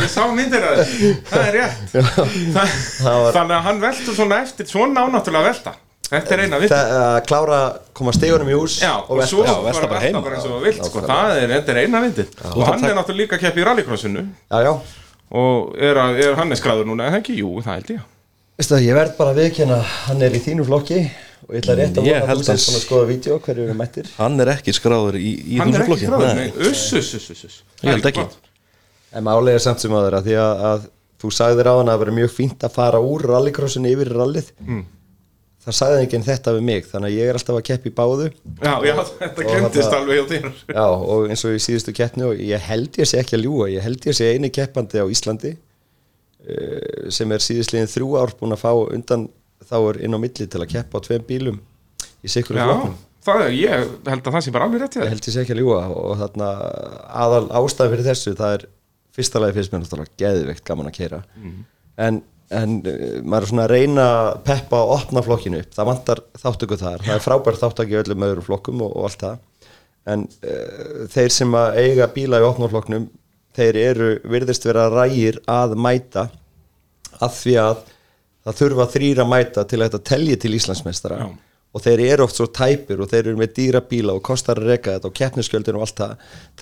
ég sá myndir að þessu Það er rétt Þa, var- Þannig að hann veltur svona eftir, svona ánáttúrulega velta Þetta er eina vitt það að klára koma stegunum í hús Já, og, og velta svo Já, já, velta bara velta bara heima. bara eins og þú vilt sko. Það er, þetta er eina vitið Og hann er náttúrulega líka að keppi í rallycrossinu já, já, Og er, að, er hann er skráður núna, eða ekki? Jú, það held ég veistu það, ég verð bara að viðkynna hann er í þínu flokki og ég ætla rétt Mm, að ég vona að held þú sér að- svona að skoða vídeo hverju eru mættir Hann er ekki skráður í, í Hann er þessum ekki flokki skráður, Nei. nei, uss, uss, uss, uss, uss. Ég held ekki. gott. En málega samt sem aðra því að, að þú sagðir á hann að það verið mjög fínt að fara úr rallycrossinu yfir rallið það sagði enginn þetta við mig þannig að ég er alltaf að keppi báðu Já, já, þetta og glemtist þarna- alveg hjá þér Já, og eins og í síðustu keppni og ég held ég sé ekki að ljúga, ég held ég sé eini keppandi á Íslandi eh, sem er síðustliðin þrjú ár búin að fá undan þá er inn á milli til að keppa á tveim bílum í sikkur Já, flokkum. það er, ég held að það sé bara alveg rétt hjá Ég þér held ég sé ekki að ljúga og þarna aðal ástæð fyrir þessu það er fyrsta lagi fyrst mér náttúrulega geðveikt gaman að keira en, en eh, maður er svona að reyna að peppa og opna flokkinu upp, það vantar þáttöku þar, það er frábær þáttöku í öllum öðrum flokkum og, og allt það en uh, þeir sem að eiga bíla í opnaflokknum þeir eru virðist vera rægir að mæta að því að það þurfa þrýra að mæta til að þetta telji til Íslandsmeistara Já. og þeir eru oft svo tæpir og þeir eru með dýra bíla og kostar að reka þetta og keppniskjöldin og allt það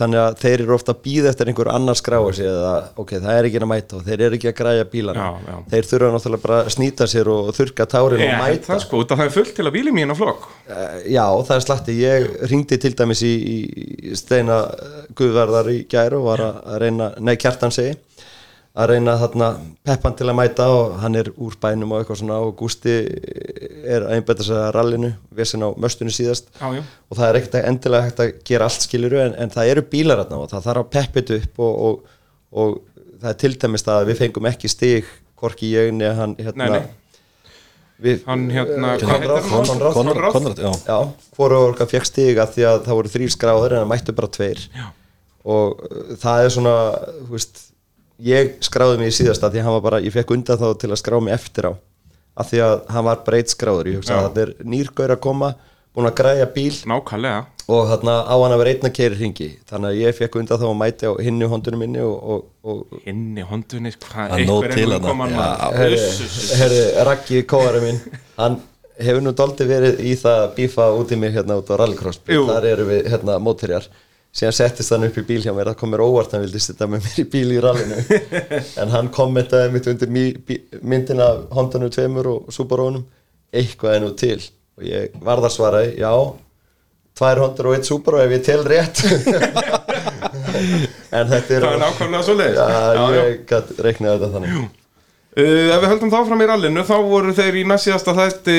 þannig að þeir eru ofta að býða eftir einhver annars skráa sig eða ok, það er ekki að mæta og þeir eru ekki að græja bílana Já, já. þeir þurfa náttúrulega bara að snýta sér og þurka tárin Ég og held mæta það sko, út af það er fullt til að bíli mín á flokk Eh, Já, það er slatti. Ég ringdi til dæmis í, í steina eh, guðverðar í gær og var að að reyna, nei kjartan segi, að reyna þarna peppan til að mæta og hann er úr bænum og eitthvað svona og Gústi er að einbæta sér að rallinu, vesinn á möstunni síðast Já, já. og það er ekkert endilega hægt að gera allt skiluru en, en það eru bílar þarna og það þarf að peppið upp og, og, og það er til dæmis það að við fengum ekki stig, hvorki ég né hann hérna, Nei, nei. Við, eh, Hann hérna, Konráð, hann? Konráð, Konrad, Konrad, já Já, hvora orka fekk stig að því að það voru þrýr skráður en það mættu bara tveir Já. og uh, það er svona þú veist, ég skráði mig í síðasta því að hann var bara, ég fekk undan þá til að skrá mig eftir á af því að hann var breytt skráður ég hugsa Já. að þetta er nýrgaur að koma búin að græja bíl Nákvæmlega og þarna á hann að vera einn að keiri hringi þannig að ég fekk undan þá að mæti á hinni hóndunum minni og, og, og Inni, hondunni, sko, það Hann er nóg einhver til ennum þarna. koman maður. Uss, Herri, Raggi Kóari minn Hann hefur nú doldið verið í það að bífa út í mig hérna út á rallycross Jú. Þar eru við hérna mótirjar Síðan settist hann upp í bíl hjá mér Það kom mér óvart, hann vildi sitta með mér í bíl í rallinu En hann kommentaði mitt undir mý, bí, myndina af Hondanum tveimur og Subaru-unum Eitthvað er nú til Og ég varð að svara, já Tvær Hondur og eitt Subaru ef ég tel rétt En þetta er Það er nákvæmlega svo leiðis Já, ég gat reiknaði þetta þannig Uh, ef við höldum þá fram í rallinu þá voru þeir í næstíðasta þætti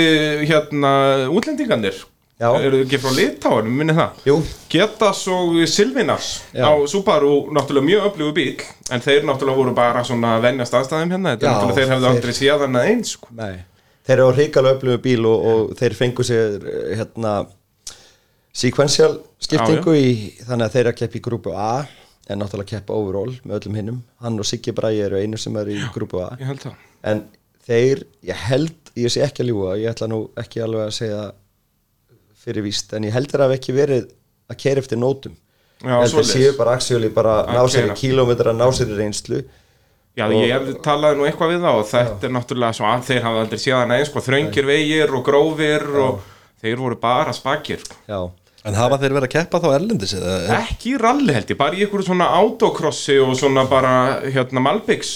hérna útlendingarnir Já. eru ekki frá litáinu, minni það Jú. Getas og Silvinas Já. á Subaru, náttúrulega mjög öflugu bíl en þeir náttúrulega voru bara svona að venjast aðstæðum hérna, þetta Já, er náttúrulega þeir hefðu þeir- aldrei séð hann að eins sko. Nei. Þeir eru á hrikalega öflugum bíl og, og þeir fengu sér eh, hérna sequential skiptingu Í, þannig að þeir eru að keppa í grúpu A en náttúrulega keppa overall með öllum hinnum hann og Siggi Bræi eru einu sem eru í grúpu A Ég held það en þeir, ég held ég sé ekki að ljúga, ég ætla nú ekki alveg að segja fyrir víst en ég held þeir hafi ekki verið að keira eftir nótum Já, Ég held þeir svoleiðis. séu bara aksjóli bara að Að ná sér keyra. í kílómetra, ná sér í reynslu Já, Og- ég talaði nú eitthvað við þá og þetta er náttúrulega svo að þeir hafa aldrei séð hann að eins sko, þröngir vegir og grófir og þeir voru bara spakir sko. já, En hafa þeir verið að keppa þá erlendis eða er, ekki í ralli held ég, bara í einhverju svona autokrossi og svona bara hérna Malbyggs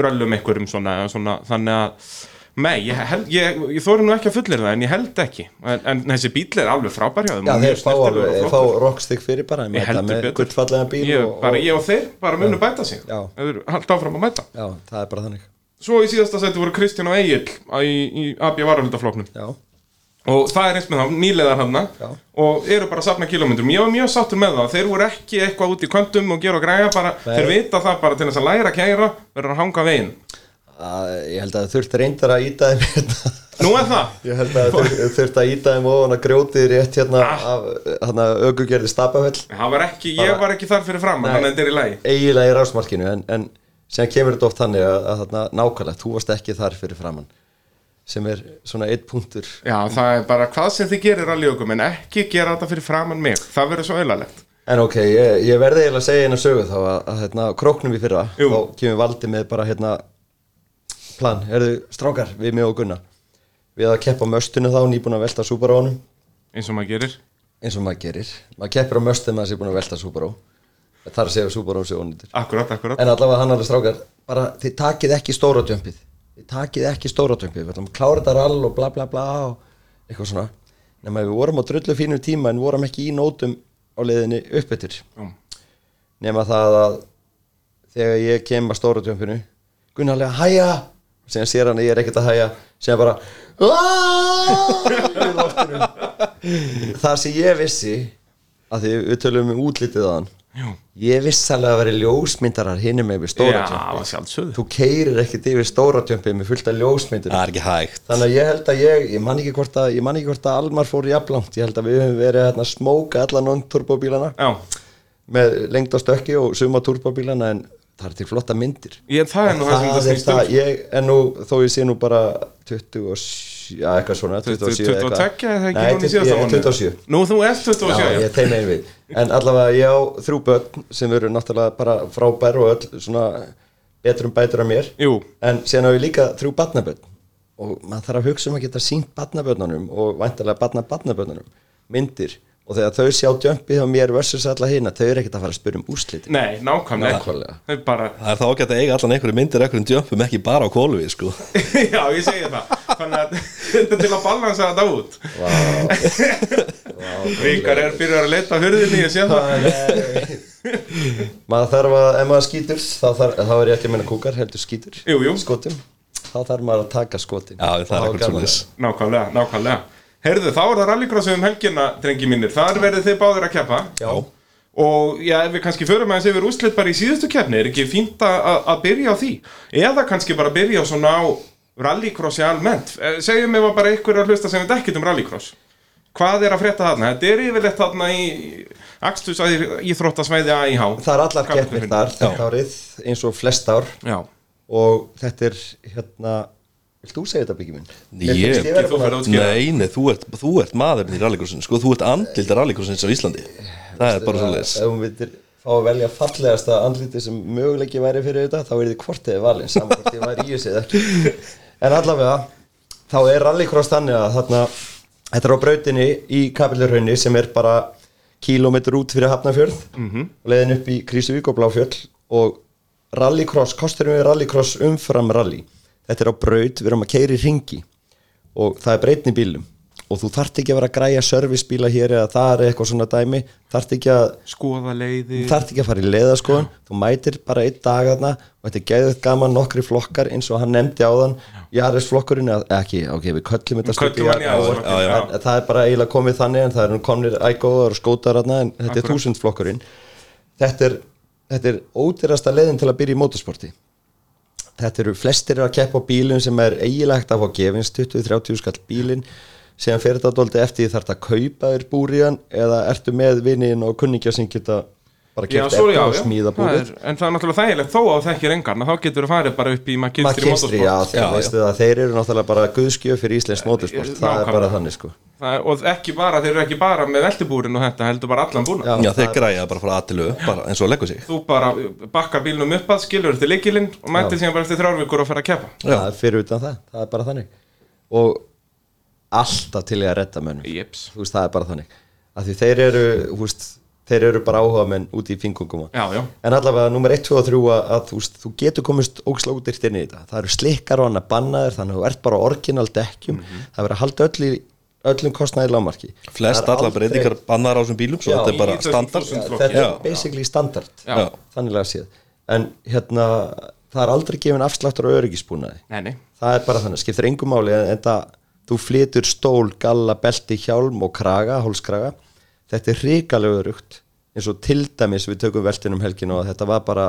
rallum einhverjum svona, svona þannig að Nei, ég, held, ég, ég þóri nú ekki að fullir það en ég held ekki en, en þessi bíl er alveg frábær hjá þeim Já, og mjög þeir fá, snyrtilegur og alveg, þeir fá flottur. rockstig fyrir bara Ég mæta heldur með betur. gullfallega bíl ég, og, bara, og, ég og þeir bara munu bæta sig Já. Ef þeir halda áfram að mæta Já, það er bara þannig Svo í síðasta seti voru Kristján og Egil í, í AB varahaldaflóknum Já, og það er eins með þá nýleðar hafna Já. og eru bara að safna kilómetrum ég var mjög sáttur með það, þeir voru ekki eitthvað út í kvöndum og gera og græja bara, Nei. þeir vita það bara til þess að læra að kæra verður að hanga veginn að, ég held að þau þurft reyndar að íta þeim hérna nú er það, Ég held að þau þurft að íta þeim ofan að grjótið rétt hérna Ah. af hérna ökugerði stapafell það var ekki ég var ekki þar fyrir fram, Nei. þannig að þetta er í lagi eiginlega í rásmarkinu en, en sem kemur þetta oft þannig að, að þarna, nákvæmlega, þú varst ekki þar fyrir framann sem er svona eitt punktur já, það er bara hvað sem þið gerir að ljókum en ekki gera þetta fyrir framann mig það verður svo eilalegt En ok, ég, ég verði eiginlega að segja eina sögu þá að, að hérna, á króknum í fyrra Jú. þá kemur valdi með bara hérna plan, herðu strákar við mig og Gunna við að keppa á möstinu þá, nýbúin að velta súbarónum eins og maður gerir eins og maður gerir, maður keppir á möstinu maður sé búin að velta súbaró þar segja súbaró sé ónýtur akkurat, akkurat, en allavega hann alveg strákar, bara þið takið ekki stóra djömpið þið takið ekki stóra djömpið, við ætlum að klára þetta rall og bla bla bla og eitthvað svona nema við vorum á drullu fínum tíma en vorum ekki í nótum á leiðinni uppbyttir Já. nema það að þegar ég kem að stóra tjömpinu Gunnarlega hæja og síðan sér hann að ég er ekkert að hæja síðan bara "Aaaah!" úr loftinu. það sem ég vissi að því við tölum um útlitið á hann Jú. ég vissi alveg að vera ljósmyndarar hinum með við stóra Já, tjömpi sjálfsögðu þú keirir ekkit yfir stóra tjömpi með fullt af ljósmyndir Það er ekki hægt þannig að ég held að ég, ég man ekki hvort að ég man ekki hvort að Almar fór jafnlangt ég held að við höfum verið hérna að smóka alla non-turbóbílana Já, með lengd á stökki og suma turbóbílana en það er til flotta myndir ég, það er nú það sem það það er snýst um það, ég, en nú þó ég sé nú bara 27, já eitthvað svona 27 22 eitthvað. eða ekki Nei, hún í 20 síðasta ég er mánuði? 27 Nú, þú ert 27 Já, já. ég teim einn við En allavega ég á þrjú börn sem eru náttúrulega bara frábær og öll svona betrum bætur af mér Jú, En síðan á ég líka þrjú barnabörn Og maður þarf að hugsa um að geta sínt barnabörnunum og væntalega barna barnabörnunum myndir Og þegar þau sjá djömpið á mér versus alla hina Þau eru ekkert að fara að spyrja um úrslitin nei, nákvæmlega Nákvæmlega. Það er bara Það er þá ágætt að eiga allan einhverju myndir einhverjum djömpum ekki bara á kólfi sko. Já, ég segi það Þannig að þetta er til að balansa þetta út Ríkar er fyrir að leita hurðinni, ég sé það Maður þarf að, ef maður skýtur þá, þarf, þá er ég ekki að menna kúkar, heldur skýtur Jú, jú. Skotum Þá þarf maður að taka skotin Já, það er Og hafa eitthvað gaman svoleiðis. að- Nákvæmlega, nákvæmlega Herðu, þá er það rallycrossið um helgina, drengi mínir Þar verðið þið báðir að keppa Já. Og já, ef við kannski förum aðeins yfir úrslit bara í síðustu keppni Er ekki fínt að- að að byrja á því? Eða kannski bara byrja á svona á rallycrossi almennt Eh, Segjum ef að bara einhver er að hlusta sem við ekkert um rallycross Hvað er að frétta þarna? Þetta er yfirleitt þarna í Akstus að íþróttasvæði AIH Það er allar keppnir Kappakeflin. þar þetta árið eins og flest ár hérna. Já, og þetta er hérna Vilt þú segja þetta byggjum minn? Mér Ég- finnst vera Ekki þú búin ferð að- út. Skilja. Nei, nei, þú ert, þú ert maðurinn í rallycrossinu sko. Þú ert andildar rallycrossins á Íslandi Það er bara að- svoleiðis Ef hún vitir fá að velja fallegasta andliti sem möguleiki væri fyrir þetta þá er þið hvort eða valin saman hvort ég væri í þessu eða ekki En allavega þá er rallycross þannig að þarna þetta er á brautinni í Kapillurhaunni sem er bara kílómetr út fyrir Hafnarfjörð og leiðin upp í Krísuvík og Bláfjöll og rallycross, kosturum við rallycross umfram rally þetta er á braut, við erum að keiri ringi og það er breytni í bílum og þú þarft ekki að vera að græja servicebíla hér eða þar eða eitthvað svona dæmi þarft ekki að skoða leiði þú þarft ekki að fara í leiðaskoðun þú mætir bara einn dag þarna og þetta er geðið gaman nokkri flokkar eins og hann nefndi áðan Jaris flokkurinn, eða- ekki, ok, við köllum þetta Köllum stundum hann Jaris- Jaris flokkinn, Já, já. já. En það er bara eiginlega komið þannig en það er nú komnir ægóðar og skótar þarna en þetta er Akkurat. þúsund flokkurinn þetta er, þetta er ódýrasta leiðin til að byrja í mótorsporti þetta eru flestir að keppa á bílum sem er eiginlega hægt að fá gefins 20-30 skall bílinn sem fyrir þetta dóldi eftir því þarf að kaupa þér búriðan eða ertu með vinnin og kunningja sem geta bara Já, keppt svo, eftir já, og já. smíða Það búrið er, en það er náttúrulega þægilegt þó að þekkir engarna þá getur þú farið bara upp í McKinstry McKinstry, Motorsport já, Eh, já, Já, veistu það, þeir eru náttúrulega bara guðskjöf fyrir Íslands motorsport, það nákvæmlega. er bara þannig sko Það er- og ekki bara, þeir eru ekki bara með veltibúrin og þetta, heldur bara allan búna Já, þeir græja bara frá aðtilu bara eins og að leggur sig þú bara bakkar bílnum upp að skilur þetta leikilinn og mættir síðan bara eftir þrjár vikur og fer að keppa Já. það er fyrir utan það, það er bara þannig og alltaf til ég að redda mönnum Jeps. þú veist, það er bara þannig að því þeir eru, þú veist, þeir eru bara áhuga menn út í fingungum já, já, en allavega nummer 1, 2 og 3 að, að þú, veist, þú getur komist ógsla út yrt inn í þetta það eru slikkar og annað bannaðir þannig að þú ert bara á orginal dekkjum það verður að halda öll í, öllum kostnaði lámarki Mhm. Flest Það er allar aldrei- breytingar bannar á þessum bílum Svo Já. þetta er bara Í þessum standard þúsund flokki. þetta er Já. basically standard Já. þannig að séð en hérna, það er aldrei gefin afsláttur á öryggisbúnaði nei, nei það er bara þannig, skiptir engum máli en þetta, þú flytur stól, galla, belti, hjálm og kraga, hólskraga þetta er ríkalega örugt eins og til dæmis við tökum veltinum helginu og þetta var bara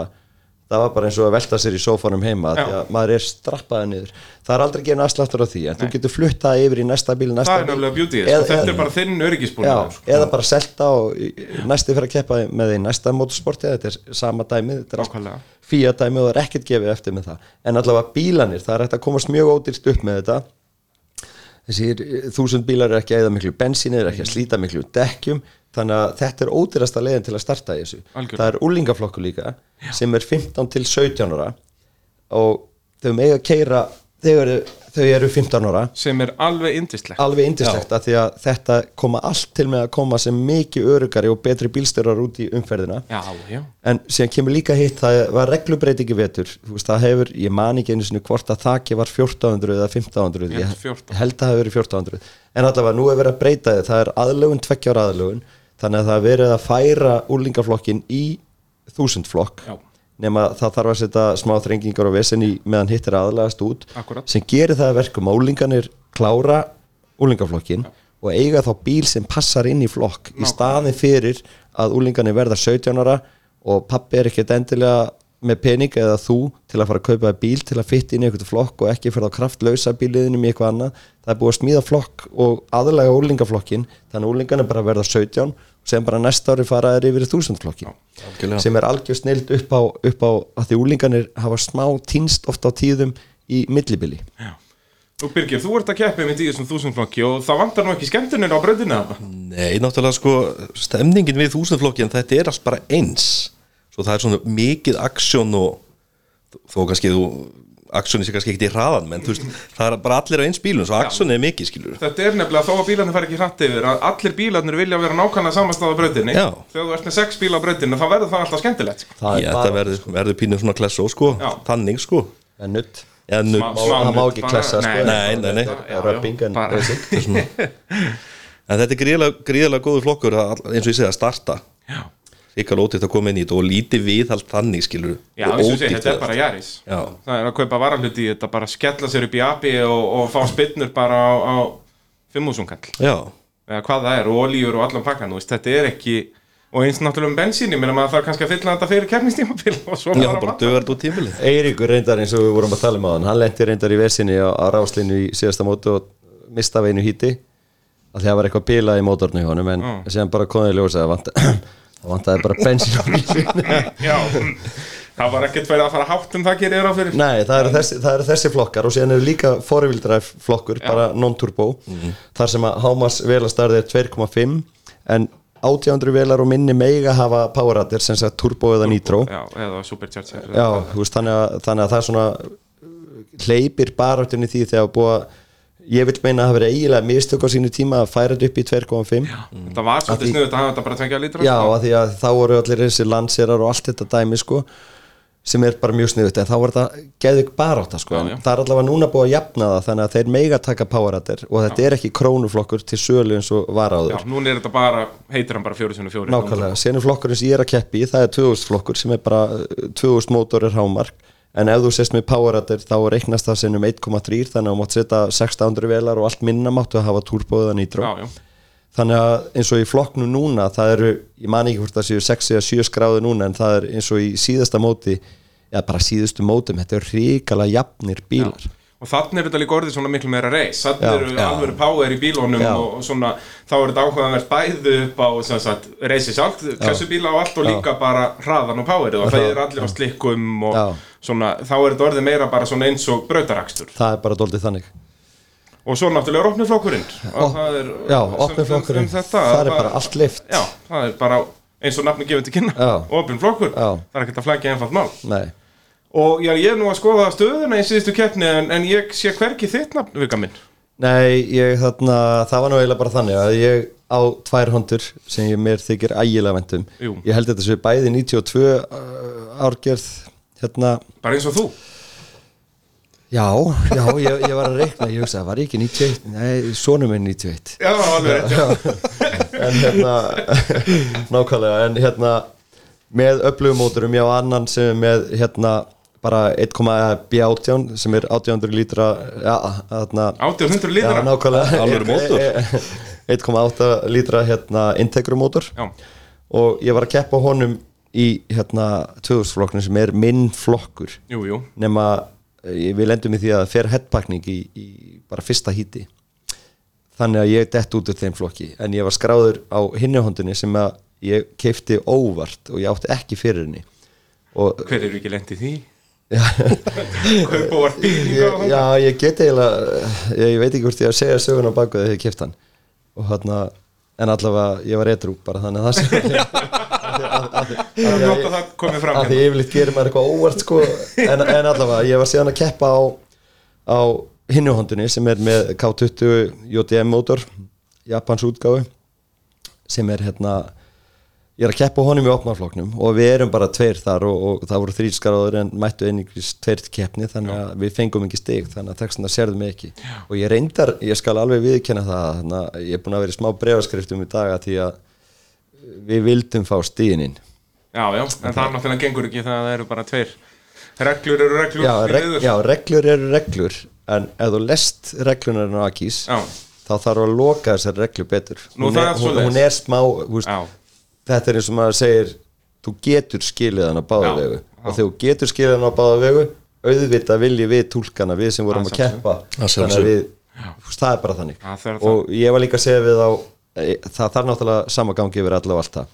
það var bara eins og að velta sér í sófanum heima Já. því að maður er strappaði niður það er aldrei gefin afsláttur á því en þú getur fluttað yfir í næsta bíl næsta það er bíl. nefnilega beauty, Eða- eða, þetta eða- er bara þinn sko, öryggisbúin Já, eða bara selta og í- í- næsti fyrir að keppa með því næsta motorsporti þetta er sama dæmið, þetta er Nákvæmlega. fíja dæmið og það er ekkert gefið eftir með það en allavega bílanir, það er hægt að komast mjög ódýrst upp með þetta þessi þúsund bílar er ekki að eða miklu bensíni, er ekki að slíta miklu dekkjum þannig að þetta er ódýrasta leiðin til að starta í þessu Algjörlega. það er úlingaflokku líka sem er 15 til 17 ára og þau mega keira þegar þau- þau eru 15 ára sem er alveg indislegt alveg indislegt að því að þetta koma allt til með að koma sem mikið örugari og betri bílstörar út í umferðina já, já, en síðan kemur líka hitt það var reglubreitingi vetur Þú veist, það hefur, ég man ekki einu sinni hvort að þaki var 1400 eða 1500 Ég ég held 1400. held að það hefur verið 1400 en allavega nú hefur verið að breyta þið það er aðlögun, tvekkjára aðlögun þannig að það er verið að færa úlingaflokkin í þúsundflokk Já. nema það þarf að setja smá þrengingar og vesen í meðan hitt er aðlagast út Akkúrat. sem gerir það að verkum að úlinganir klára úlingaflokkin og eiga þá bíl sem passar inn í flokk í staðin fyrir að úlingarnir verða 17 ára og pappi er ekkert endilega með pening eða þú til að fara að kaupa þér bíl til að fytta inn í einhvern flokk og ekki fyrir að kraftlausa bíliðinum í eitthvað annað það er búið að smíða flokk og aðlega úlingaflokkin þannig að úlingarnir bara verða 17 og sem bara næsta ári fara þér yfir 1000 flokkin algjörlega. sem er algjör snild upp á, upp á að því úlingarnir hafa smá týnst ofta á tíðum í millibili Og Birgir, þú ert að keppa með í þessum þúsundflokki og það vantar nú ekki skemmtunir á bröðina Mm. Nei, náttúrulega sko stemningin við þúsundflokkin þetta er allt bara eins svo það er svona mikið aksjón og þó kannski þú aksjóni sé kannski ekkert í hraðan menn þú veist, það er bara allir á eins bílun svo aksjón er mikið skilur Þetta er nefnilega þó að bílarnir fara ekki hratt yfir að allir bílarnir vilja vera nákvæmlega samastað á bröðinni Já. Þegar þú ert með sex bíla á bröðinni þá verður það alltaf skemmtilegt sko. það Já, þetta verður, verður pínu svona klessó sko Já. þannig sko en nutt Eða, Smá- nudd. smá- það má nudd, ekki bara- klessa nei, sko, nei, nei, nei. það er Rubbing en bara- basic en þetta er gríðlega, gríðlega góður flokkur að, all- eins og ég segi að starta Já, ykkar ódýrt að koma inn í þetta og lítið viðhald þannig skilur Já eins og segja, þetta er bara Jaris Já. Það er að kaupa varahluti í þetta, bara skella sér upp í api og, og fá spinnur bara á, á 5.000 kall Já, eða hvað það er, og olíur og allan pakkan þú veist, þetta er ekki, og eins náttúrulega um bensíni menn að maður þarf kannski að fylla þetta fyrir kefnistímabil og svo já bara, bara dögar þetta út tímilið Eiríkur reyndar eins og við vorum að tala um á hann hann lendi reyndar í vesinni á, á ráslinu í síðasta mótu og mista af einu híti að það var eitthvað bilað í mótornu hjá honum en mm. sem bara komið í ljósa að vanta það vantaði bara bensin á bílinn. já, það var ekkert verið að fara hátt um það gerir á fyrir Nei, það eru, þessi, það eru þessi flokkar og síðan eru líka forvildræf flokkur, bara non-turbo þar sem að hámas velastarði er 2,5 en 800 velar og minni meiga hafa poweratir sem sagt turbo eða nitro já, eða supercharger Já, þú veist, þannig, að, þannig að það er svona uh, hleypir baráttunni því þegar búið að ég vil meina að það verið eiginlega mistök á sínu tíma að færa þetta upp í 2,5 já. það Mm. var svolítið snuðið að hafa þetta bara sko. tvekja lítra að því að þá voru allir þessi landserar og allt þetta dæmi sko sem er bara mjög sniðut en þá var þetta geðug barátta sko Já, en já. það er allavega núna búið að jafna það þannig að þeir mega taka poweratir og þetta er ekki krónuflokkur til sölu eins og já, varáður núna er þetta bara, heitir hann bara 404 Nákvæmlega, senu flokkurinn sem ég er að keppi í það er 2000 flokkur sem er bara uh, 2000 mótorir hámark en ef þú sést með poweratir þá reiknast það um sinnum 1,3 þannig að þú mátt setja 600 velar og allt minna máttu að hafa turboða nýtró já, já, þannig að eins og í flokknum núna það eru, ég man ekki hvort það séu 6 eða 7 skráði núna en það er eins og í síðasta móti eða bara síðustu mótum, þetta eru ríkala jafnir bílar og þannig er þetta líka orðið svona miklu meira reis Já, þannig eru já. alveg power í bílunum Já. og, og svona, þá er þetta áhugaverð bæði upp á sem sagt, reisi sjálft, klessubíla og allt og líka bara hraðan og powerið og það er allir á slikkum og Já. svona, þá er þetta orðið meira bara svona eins og brautarakstur það er bara doldið þannig og svo náttúrulega er opnuflokkurinn Ó, og það er já, sem- opnuflokkurinn, um þetta, það er að bara allt lift já, það er bara eins og nafni gefur til kynna Já. opin flokkur, Já. það er ekkert að flækja einfalt mál Nei. og já, ég er nú að skoða stöðuna í síðustu keppni en, en ég sé hverki þitt nafn, Vika minn Nei, ég, þarna, það var nú eiginlega bara þannig að ég á tvær hondur sem ég mér þykir ægilega vendum Jú. Ég held þetta sem bæði 92 uh, árgerð hérna, bara eins og þú já, já, ég, ég var að reikna ég hugsaði, var ég ekki 91? Nei, sonum er 91 Já, alveg rétt, já. en hérna nákvæmlega, en hérna með öflugumóturum, ég á annan sem er með hérna bara 1,b18 sem er 800 lítra já, þarna 1800 Já, litra nákvæmlega Alvöru mótor. E- e- 1,8 lítra hérna integrumotor Já. og ég var að keppa á honum í hérna 2000 flokknum sem er minn flokkur Jú, jú, nema eh, við lendum í því að það fer headpakning í, í bara fyrsta híti þannig að ég dett út úr þeim flokki en ég var skráður á hinnuhondunni sem að ég keipti óvart og ég átti ekki fyrir henni og hver eru ekki lent í því? já, Kaup og vart bílinga ég, já, ég get eiginlega eh, ég, ég veit ekki hvort ég á að segja sögun á baku þegar ég kæft hann og hérna, en allavega ég var retrú bara þannig að það sem Það er gott að það komið fram að því hérna yfirleitt gerir maður eitthvað óvart sko en, en allavega, ég var síðan að keppa á á hinnuhondunni sem er með K20 JDM mótor Japans útgáfu sem er hérna ég er að keppa á honum í opnarfloknum og við erum bara tveir þar og, og það voru þrýr skaraður en mættu einingis tveir til keppni þannig að við fengum ekki stig þannig að textana sérðu mig ekki og ég reyndar, ég skal alveg viðkenna það þannig að ég er búin að vera í smá breyfaskriftum í dag að því að við vildum fá stíðininn Já, já, en það náttúrulega gengur ekki það eru bara tveir Reglur eru reglur já, því reg, miður. já, reglur eru reglur en ef þú lest reglunar en á Akís Já. þá þarf að loka þessar reglu betur Nú, hún, það er er, hún, svoleiðis. hún er smá þú veist, Já. þetta er eins og maður segir þú getur skilið hann á báða Já, vegu já. og þegar þú getur skilið hann á báða vegu auðvitað vilji við túlkana við sem Að vorum að keppa Að þannig sjálfsögðu. að við, þú veist, það er bara þannig Já, það er það. og ég var líka að segja við á e, það þarf náttúrulega samagangi yfir alla og allt það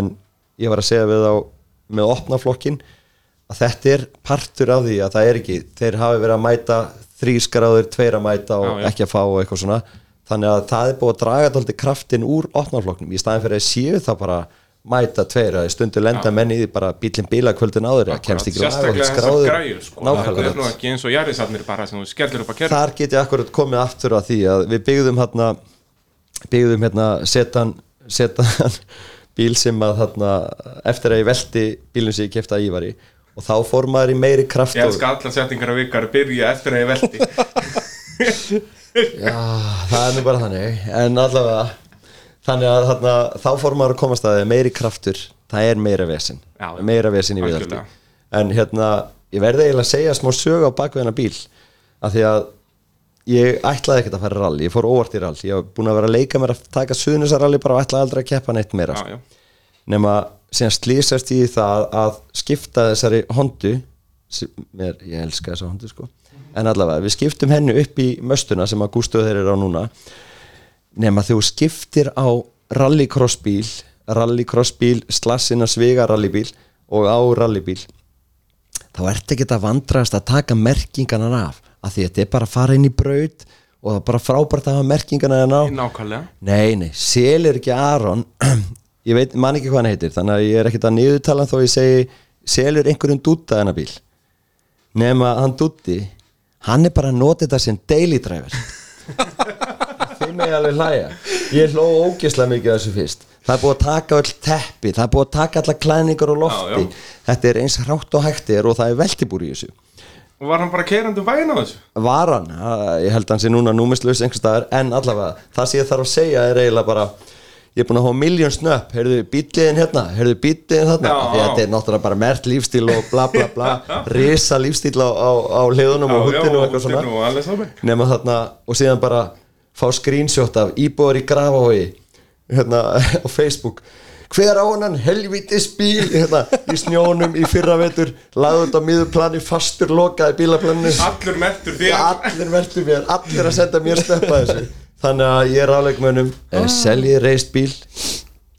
en ég var að segja við á með opna flokkin að þetta er partur af því að það er ekki þeir hafi verið að mæta þrískráður, tveir að mæta og Já, já. ekki að fá og eitthvað svona þannig að það er búið að draga dálítið kraftin úr opnafloknum í staðin fyrir að séu það bara mæta tveir að í stundu lenda menn í því bara bílinn bíla kvöldin áður að kemst ekki á sérstaklega þessar skráður græjur sko. það er nú nákvæmlega ekki eins og jarðisatnir bara sem þú skellir upp að kerfi þar get ég akkurat komið aftur að því að við byggðum hérna byggðum hérna setan, setan bíl sem að hérna, eftir að ég velti bílum sem ég kefti að Ívari og þá fór maður í meiri kraft ég og- elska allar settingar af ykkar að byrja eftir að ég velti Já, það er nú bara þannig en allavega þannig að þarna, þá fór maður að komast að því að meiri kraftur, það er meira vesin Já, já. meira vesin í viðhaldi Algjörlega. en hérna, ég verði eiginlega að segja smá sög á bakveðina bíl af því að ég ætlaði ekkert að fara í rally, ég fór óvart í rally ég var búin að vera að leika mér að taka suðnisaralli bara og ætlaði aldrei að keppa neitt meira Já, sko. já. nema síðan slýsast í það að skipta þessari hondu mér, ég elska þessa hondu sko en allavega, við skiptum henni upp í möstuna sem að Gústu þeir eru á núna nema þegar þú skiptir á rallycross bíl rallycross bíl, slassina sviga rallybíl og á rallybíl þá ertu ekkert að vandrast að taka merkingarnar af af því þetta er bara að fara inn í braut og það er bara frábært að hafa merkingarnar hérna á nákvæmlega Nei, nei, Sel er ekki Aron Ég veit, man ekki hvað hann heitir Þannig að ég er ekkert að niðurtala hann þó ég segi Sel er einhverjum dúta hennar bíl Nefna hann dúti Hann er bara að nota þetta sem daily driver Þeim er alveg hlæja Ég hló ógislega mikið að þessu fyrst Það er búið að taka öll teppi Það er búið að taka alla klæningar og lofti Já, já. Þetta er eins hrátt og hægt er og það er veltibúr í þessu og var hann bara keirandi um vægin á þessu var hann, ha, ég held að hann sé núna númislaus einhvers staðar, en allavega það sem ég þarf að segja er eiginlega bara ég er búin að hafa miljón snöpp, heyrðu bíliðin hérna, heyrðu bíliðin þarna Já, af því já. að þetta er náttúrulega bara mert lífstíl og bla bla bla, risa lífstíl á, á, á hliðunum og hundinu og eitthvað svona húttinu og alveg sábæ nema þarna og síðan bara fá screenshot af íbúar í Grafavogi hérna á Facebook hver á hann helvitis bíl hérna, í snjónum í fyrra vetur lagði þetta á miðurplani fastur lokaði bílaplaninu allur mertur því allir veltu mér, allir að senda mér steppa þessu þannig að ég er áleikmönum ah. seljið reist bíl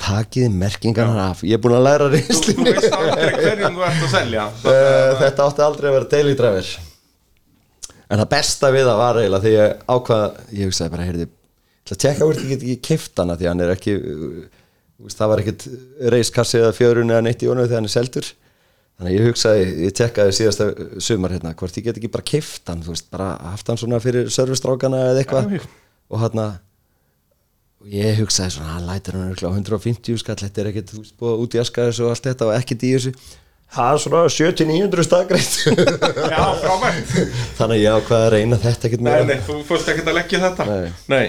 takið merkingarnar af ég er búin að læra þú reislinni veist aldrei hverjum þú ert að selja Eh, þetta átti aldrei að vera daily driver en það besta við það var eiginlega því ég ákvað ég hugsaði bara, heyrði, til að tjekka hvort ég get ekki kift hana því hann er ekki uh, þú veist, það var ekkit reiskassi eða fjörun eða neitt í honum þegar hann er seldur þannig að ég hugsaði, ég tjekkaði síðasta uh, sumar hérna, hvort ég get ekki bara kift hann þú veist, bara haft hann svona fyrir servistrákana eða eitthvað Já, já. og hérna hann og ég hugsaði svona, hann lætir hann örugglega á 150 skall, þetta er ekkert, þú veist, búið að útjaska þessu og allt þetta og ekkert í þessu það er svona 70-900 staðgreitt já, frábært þannig að ég ákvaði að reyna þetta ekkert nei, meira nei, þú fórst ekkert að leggja þetta Nei.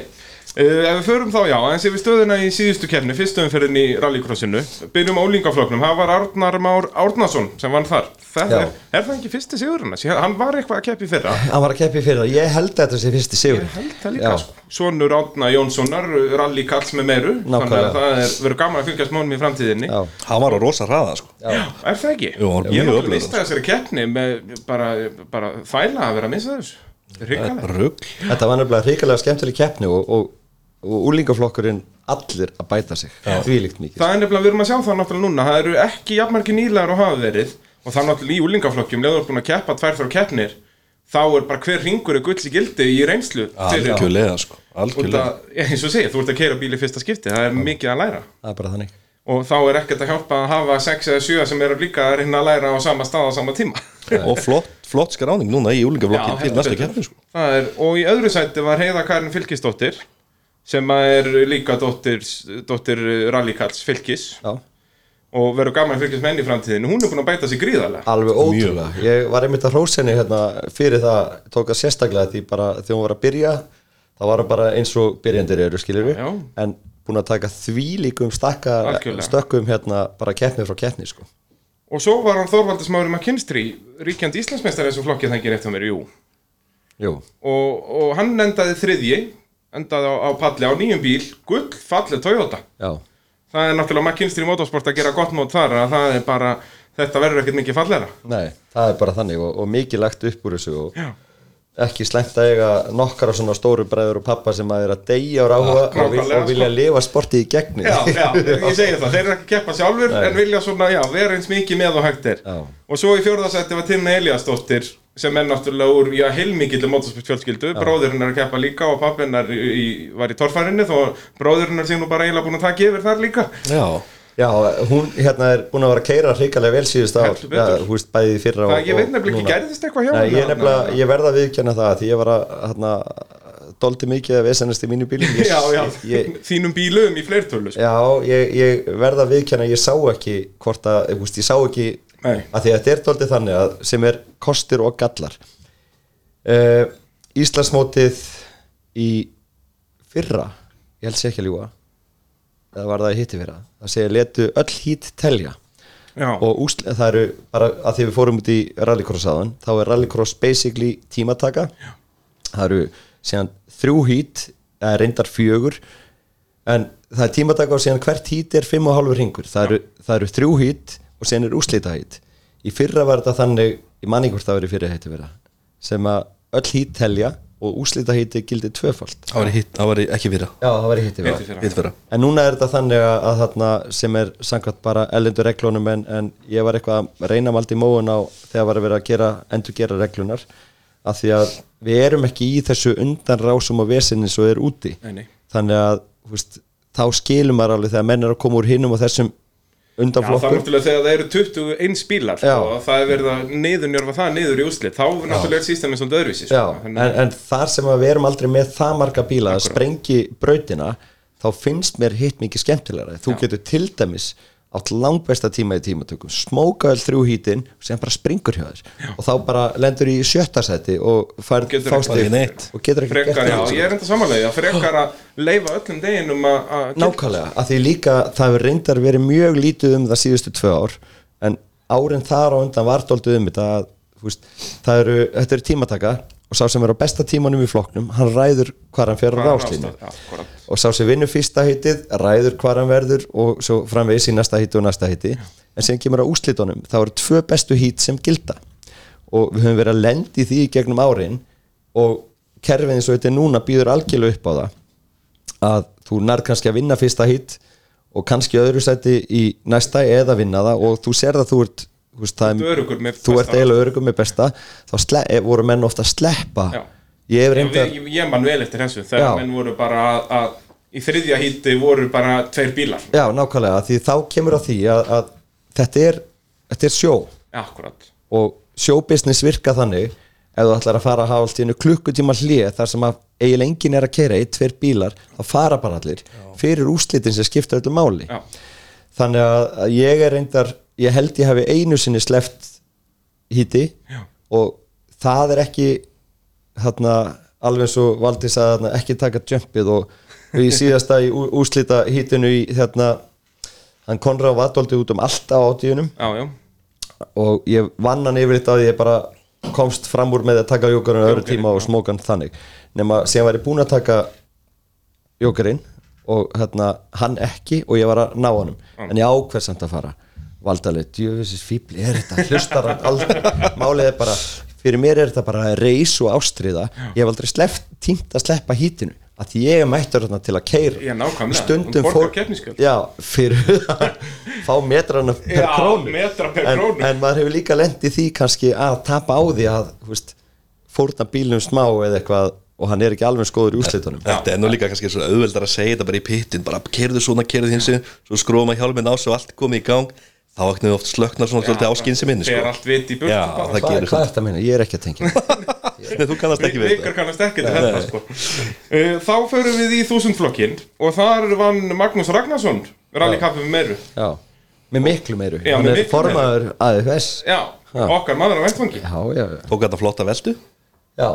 Uh, ef við förum þá, já, eins yfir stöðuna í síðustu kefni, fyrstu umferðin í rallycrossinu byrjum á úlingafloknum, það var Arnar Már Árnason sem vann þar það Já. er, er það ekki fyrsti sigurinn hans? Ég- hann var eitthvað að keppi fyrra hann var að keppi fyrir það, ég held að þetta sé fyrsti sigur Ég held það líka, Já. sko. Svonur Árna Jónssonar, rallykalls með meiru Þannig Nákvæmlega. að það er, verður gaman að fylgjast mónum í framtíðinni Já. Hann var á rosa hraða sko Já, er það ekki? Jú, hann var ég mjög náttúrulega öflugur. mista þessari keppni með bara, bara þvæla að vera að missa þessu Þetta er Hrikalega Rugg þetta var nefnilega hrikalega skemmtileg keppni og, og, og úlingaflokkurinn allir að bæta sig, þvílíkt mikið Það er nefnilega, við erum að sjá það náttúrulega núna Það eru ekki jafnmargi nýlegar og hafa verið Og það náttúrulega í úlingaflokkjum Leður búin að keppa tvær þrjá keppnir Þá er bara hver ringur er gull í gildi í reynslu fyrir- Algjörlega sko Og Algjörlega það, eins og segja, þú ert að keira bíl í fyrsta skipti Það er mikið að læra það er bara þannig og þá er ekkert að hjálpa að hafa 6 eða 7 sem eru líka að reyna að læra á sama stað á sama tíma Og flott, flott skráning núna í úlingaflokkin til heldur næsta betur. keppni sko Það er, og í öðru sæti var Heiða Karin Fylkisdóttir sem að er líka dóttir, dóttir rallykalls Fylkis Já. og verður gaman að fylgjast með henni í framtíðinu hún er búin að bæta sig gríðarlega alveg ótrúlega, ég var einmitt að hrósenni hérna fyrir það, tók að sérstaklega því bara þegar hún var að byrja það var hún bara eins og byrjandir eru skilur við Já, já. en búin að taka þvílíkum stakka, Algjörlega. stökkum hérna bara keppni frá keppni sko og svo var hann Þorvaldur Smári McKinstry ríkjandi Íslandsmeistar þessu flokki þengir eftir mér, jú Jú. og, og hann endaði þriðji endaði á, á palli á nýjum bíl gull fallið Toyota já, það er náttúrulega McKinstry Motorsport að gera gott mót þar að það er bara, þetta verður ekkert mikið fallera nei, það er bara þannig og, og mikið lagt upp úr þessu og ekki slengt að eiga nokkara svona stóru bræður og pappa sem að er að deyja og ráhuga og, vil, nákvæmlega, og vilja lifa sportið í gegni já, já, ég segi það, þeir eru ekki að keppa sjálfur en vilja svona, já, vera eins mikið með og hægt er Já. og svo í fjórðasætti var Tinna Eliasdóttir sem er náttúrulega úr, já, heilmikillu motorsport fjölskyldu, bróðurinn er að keppa líka og pappinnar í, í, var í torfærinni þó bróðurinn er sér nú bara eiginlega búin að taka yfir þar líka já, Já, hún hérna er búin að vera að keira hrikalega vel síðust ár Heldur betur. Já, Hú veist bæði í fyrra Það- ég veit nefnilega ekki, núna. gerðist eitthvað hjá Nei, henni Ég, þarna? nefnilega, ég verða að viðkjanna það því ég var að hérna, doldi mikið að vesenast í mínu bílum ég, já, já, ég, þínum bílum í fleirtölu sko. já, ég, ég verða að viðkjanna ég sá ekki hvort að, þú veist, ég sá ekki Nei. að því að þetta er doldi þannig að sem er kostir og gallar uh, Íslandsmótið í fyrra ég held sé ekki að ljúga eða var það í hitti fyrra það segja letu öll hít telja já, og úsl, það eru bara að því við fórum út í rallycross aðan þá er rallycross basically tímataka Já. það eru síðan þrjú hít eða reyndar fjögur en það er tímataka og síðan hvert hít er fimm og hálfur ringur það eru, það eru þrjú hít og síðan er úslita hít í fyrra var þetta þannig í manni hvort það verið fyrir heiti vera sem að öll hít telja og úslita híti gildi tvöfald það var, í hitt, það var í- ekki fyrra Já, það var í hitti vera Hitt í fyrra. hitt fyrra En núna er þetta þannig að að þarna sem er samkvæmt bara ellendur reglunum en, en ég var eitthvað að reyna mald í móun á þegar var að vera að gera, endur gera reglunar af því að við erum ekki í þessu undan rásum og vesinni svo er úti Nei, nei. þannig að þú veist, þá skilum maður alveg þegar menn er að koma úr hinnum og þessum Já, það er undanflokkum náttúrulega þegar það eru 21 bílar Já. sko, og það er verið að neyðunjörfa það neyður í úslit þá er náttúrulega sístæmi svona öðruvísi sko. Já, en, Þannig- en þar sem að við erum aldrei með það marga bíla að sprengi brautina þá finnst mér hitt mikið skemmtilegra þú getur til dæmis átt langbesta tíma í tímatökum, smókaðal þrjú hítin sem bara springur hjá þér og þá bara lendur í sjötta seti og fær Getur fást eitthvað í- í neitt. og getur ekki frekar, já, neitt, sko. ég er enda samanlega frekar að leifa öllum deginum að að- Nákvæmlega, að því líka það hefur reyndar verið mjög lítið um það síðustu tvö ár en árin þar á undan var doldið um þetta að þú veist, það eru, þetta eru tímataka og sá sem er á besta tímanum í flokknum hann ræður hvar hann fer á Hvar hann ráslínu ráðstaf- já, akkúrat. og sá sem vinnur fyrsta hitið ræður hvar hann verður og svo framvegis í næsta hiti og næsta hiti en sem kemur á úslitunum, þá eru tvö bestu hít sem gilda og við höfum verið að lendi því í gegnum árin og kerfið eins og þetta er núna býður algjörlega upp á það að þú nærð kannski að vinna fyrsta hit og kannski öðru sæti í næsta eða vinna það og þú sér það að þú ert þú veist, það Þú ert er- öruggur með þú besta. ert eiginlega örugur með besta þá sle, eh, voru menn ofta að sleppa Já. ég hef Já, reyndar við- ég, ég man vel eftir þessu þegar Já. menn voru bara að, að í þriðja híti voru bara tveir bílar já, nákvæmlega, því þá kemur að því að, að þetta, er, þetta er sjó akkurat og sjóbusiness virka þannig ef þú ætlar að fara að hafa allt í einu klukkutíma hlið þar sem að eiginlega enginn er að keira í tveir bílar, þá fara bara allir fyrir úslitin sem skipta öllu máli já. þannig að að ég er reyndar ég held ég hafi einu sinni sleppt híti Já. og það er ekki þarna, alveg eins og Valdís að þarna, ekki taka jumpið og, og í síðasta í ú- úrslita hítinu í þarna hann Konrad Vadoldi út um allt á átíunum já, já, og ég vann hann yfirleitt að ég bara komst fram úr með að taka jókarinn öðru Jókerinn, tíma og já. smókan þannig nema sem væri búin að taka jókarinn og hérna, hann ekki og ég var að ná honum Mm. en ég ákveð samt að fara valdaleg, djöfisins fíbli er þetta hlustar hann aldrei, málið er bara fyrir mér er þetta bara reis og ástriða ég hef aldrei sleft, tímt að sleppa hítinu að því ég er mættur þarna til að keira Já, nákvæmlega. stundum Hún borgar fór keppnisgjöld. já, fyrir það fá metrana per Já, krónu metra per en, krónu. en maður hefur líka lent í því kannski að tapa á því að þú veist, fórna bílnum smá eða eitthvað og hann er ekki alveg skoður í úrslitunum Þetta er nú líka kannski svo auðveldar að segja þetta bara í pittin bara kerðu svona, kerðu hinsi svo skróma hjálminn á svo allt komið í gang þá ekki oft slöknar svona svolítið áskynsi minni fer sko. allt vit í burtu Já, bara. það hvað, gerir hvað er þetta að minna? Ég er ekki að tengja Nei, Þú kannast ekki við Vikar þetta kannast ekki til þetta sko. Uh, Þá förum við í þúsundflokkin og þar vann Magnús Ragnarsson rallykappi með meiru já, með miklu meiru Já, hann með er miklu formaður AFS já, Já, okkar maður á vettfangi já, Tók þetta flotta veldu já,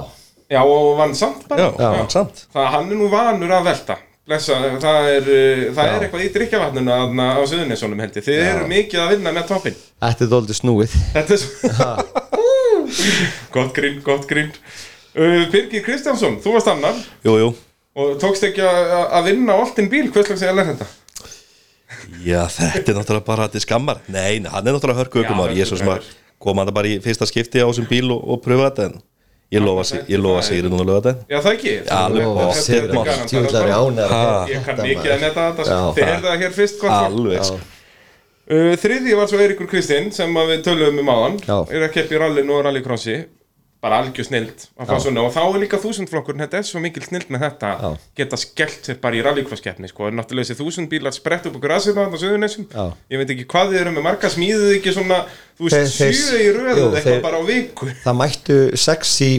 Já, og vann samt bara Já, vann samt. Það hann er nú vanur að velta Blessa, það er, uh, það er eitthvað í drikjavatnuna þarna á Suðunesónum held ég Þið eru mikið að vinna með toppin þetta er dóldi snúið Þetta er svo Gott grín, gott grín uh, Birgir Kristjánsson, þú varst annar Jú, jú, Og tókst ekki að að vinna á alltinn bíl, hvers slags eða er þetta? Já, þetta er náttúrulega bara til skammar Nei, nei, hann er náttúrulega hörku ökumar Já, Ég er svo sem að hörkuökumaður. koma hann bara í fyrsta skipti á þessum bíl og, og pröfa þetta en ég lofa, sig- ég lofa sigri núna löga þetta Já, það ekki? Já, alveg Þetta- boss, þetta er þetta er gaman, það Djöfull er er ég bara- ánægður að Ha. heyra Ég kann þetta, mikið að maður. netta þetta, sko. Já, þið það- heyrðu það hér fyrst gott fólk. Alveg, Já. sko Uh, þriði var svo Eiríkur Kristinn sem að við töluðum um áðan Já. er að keppa í rallinu og rallycrossi bara algjör snild að fá Já. svona og þá er líka þúsundflokkurinn þetta er svo mikil snild með þetta Já. geta skellt sér bara í rallycross keppni sko, en náttúrulega þessi þúsund bílar sprett upp okkur aðsynna á söðunessum, Já. ég veit ekki hvað þið eru með marga smíðið ekki svona, þú veist, Þeir- þeir- sjö í röðu jú, eitthvað þeir- bara á viku Það mættu sexy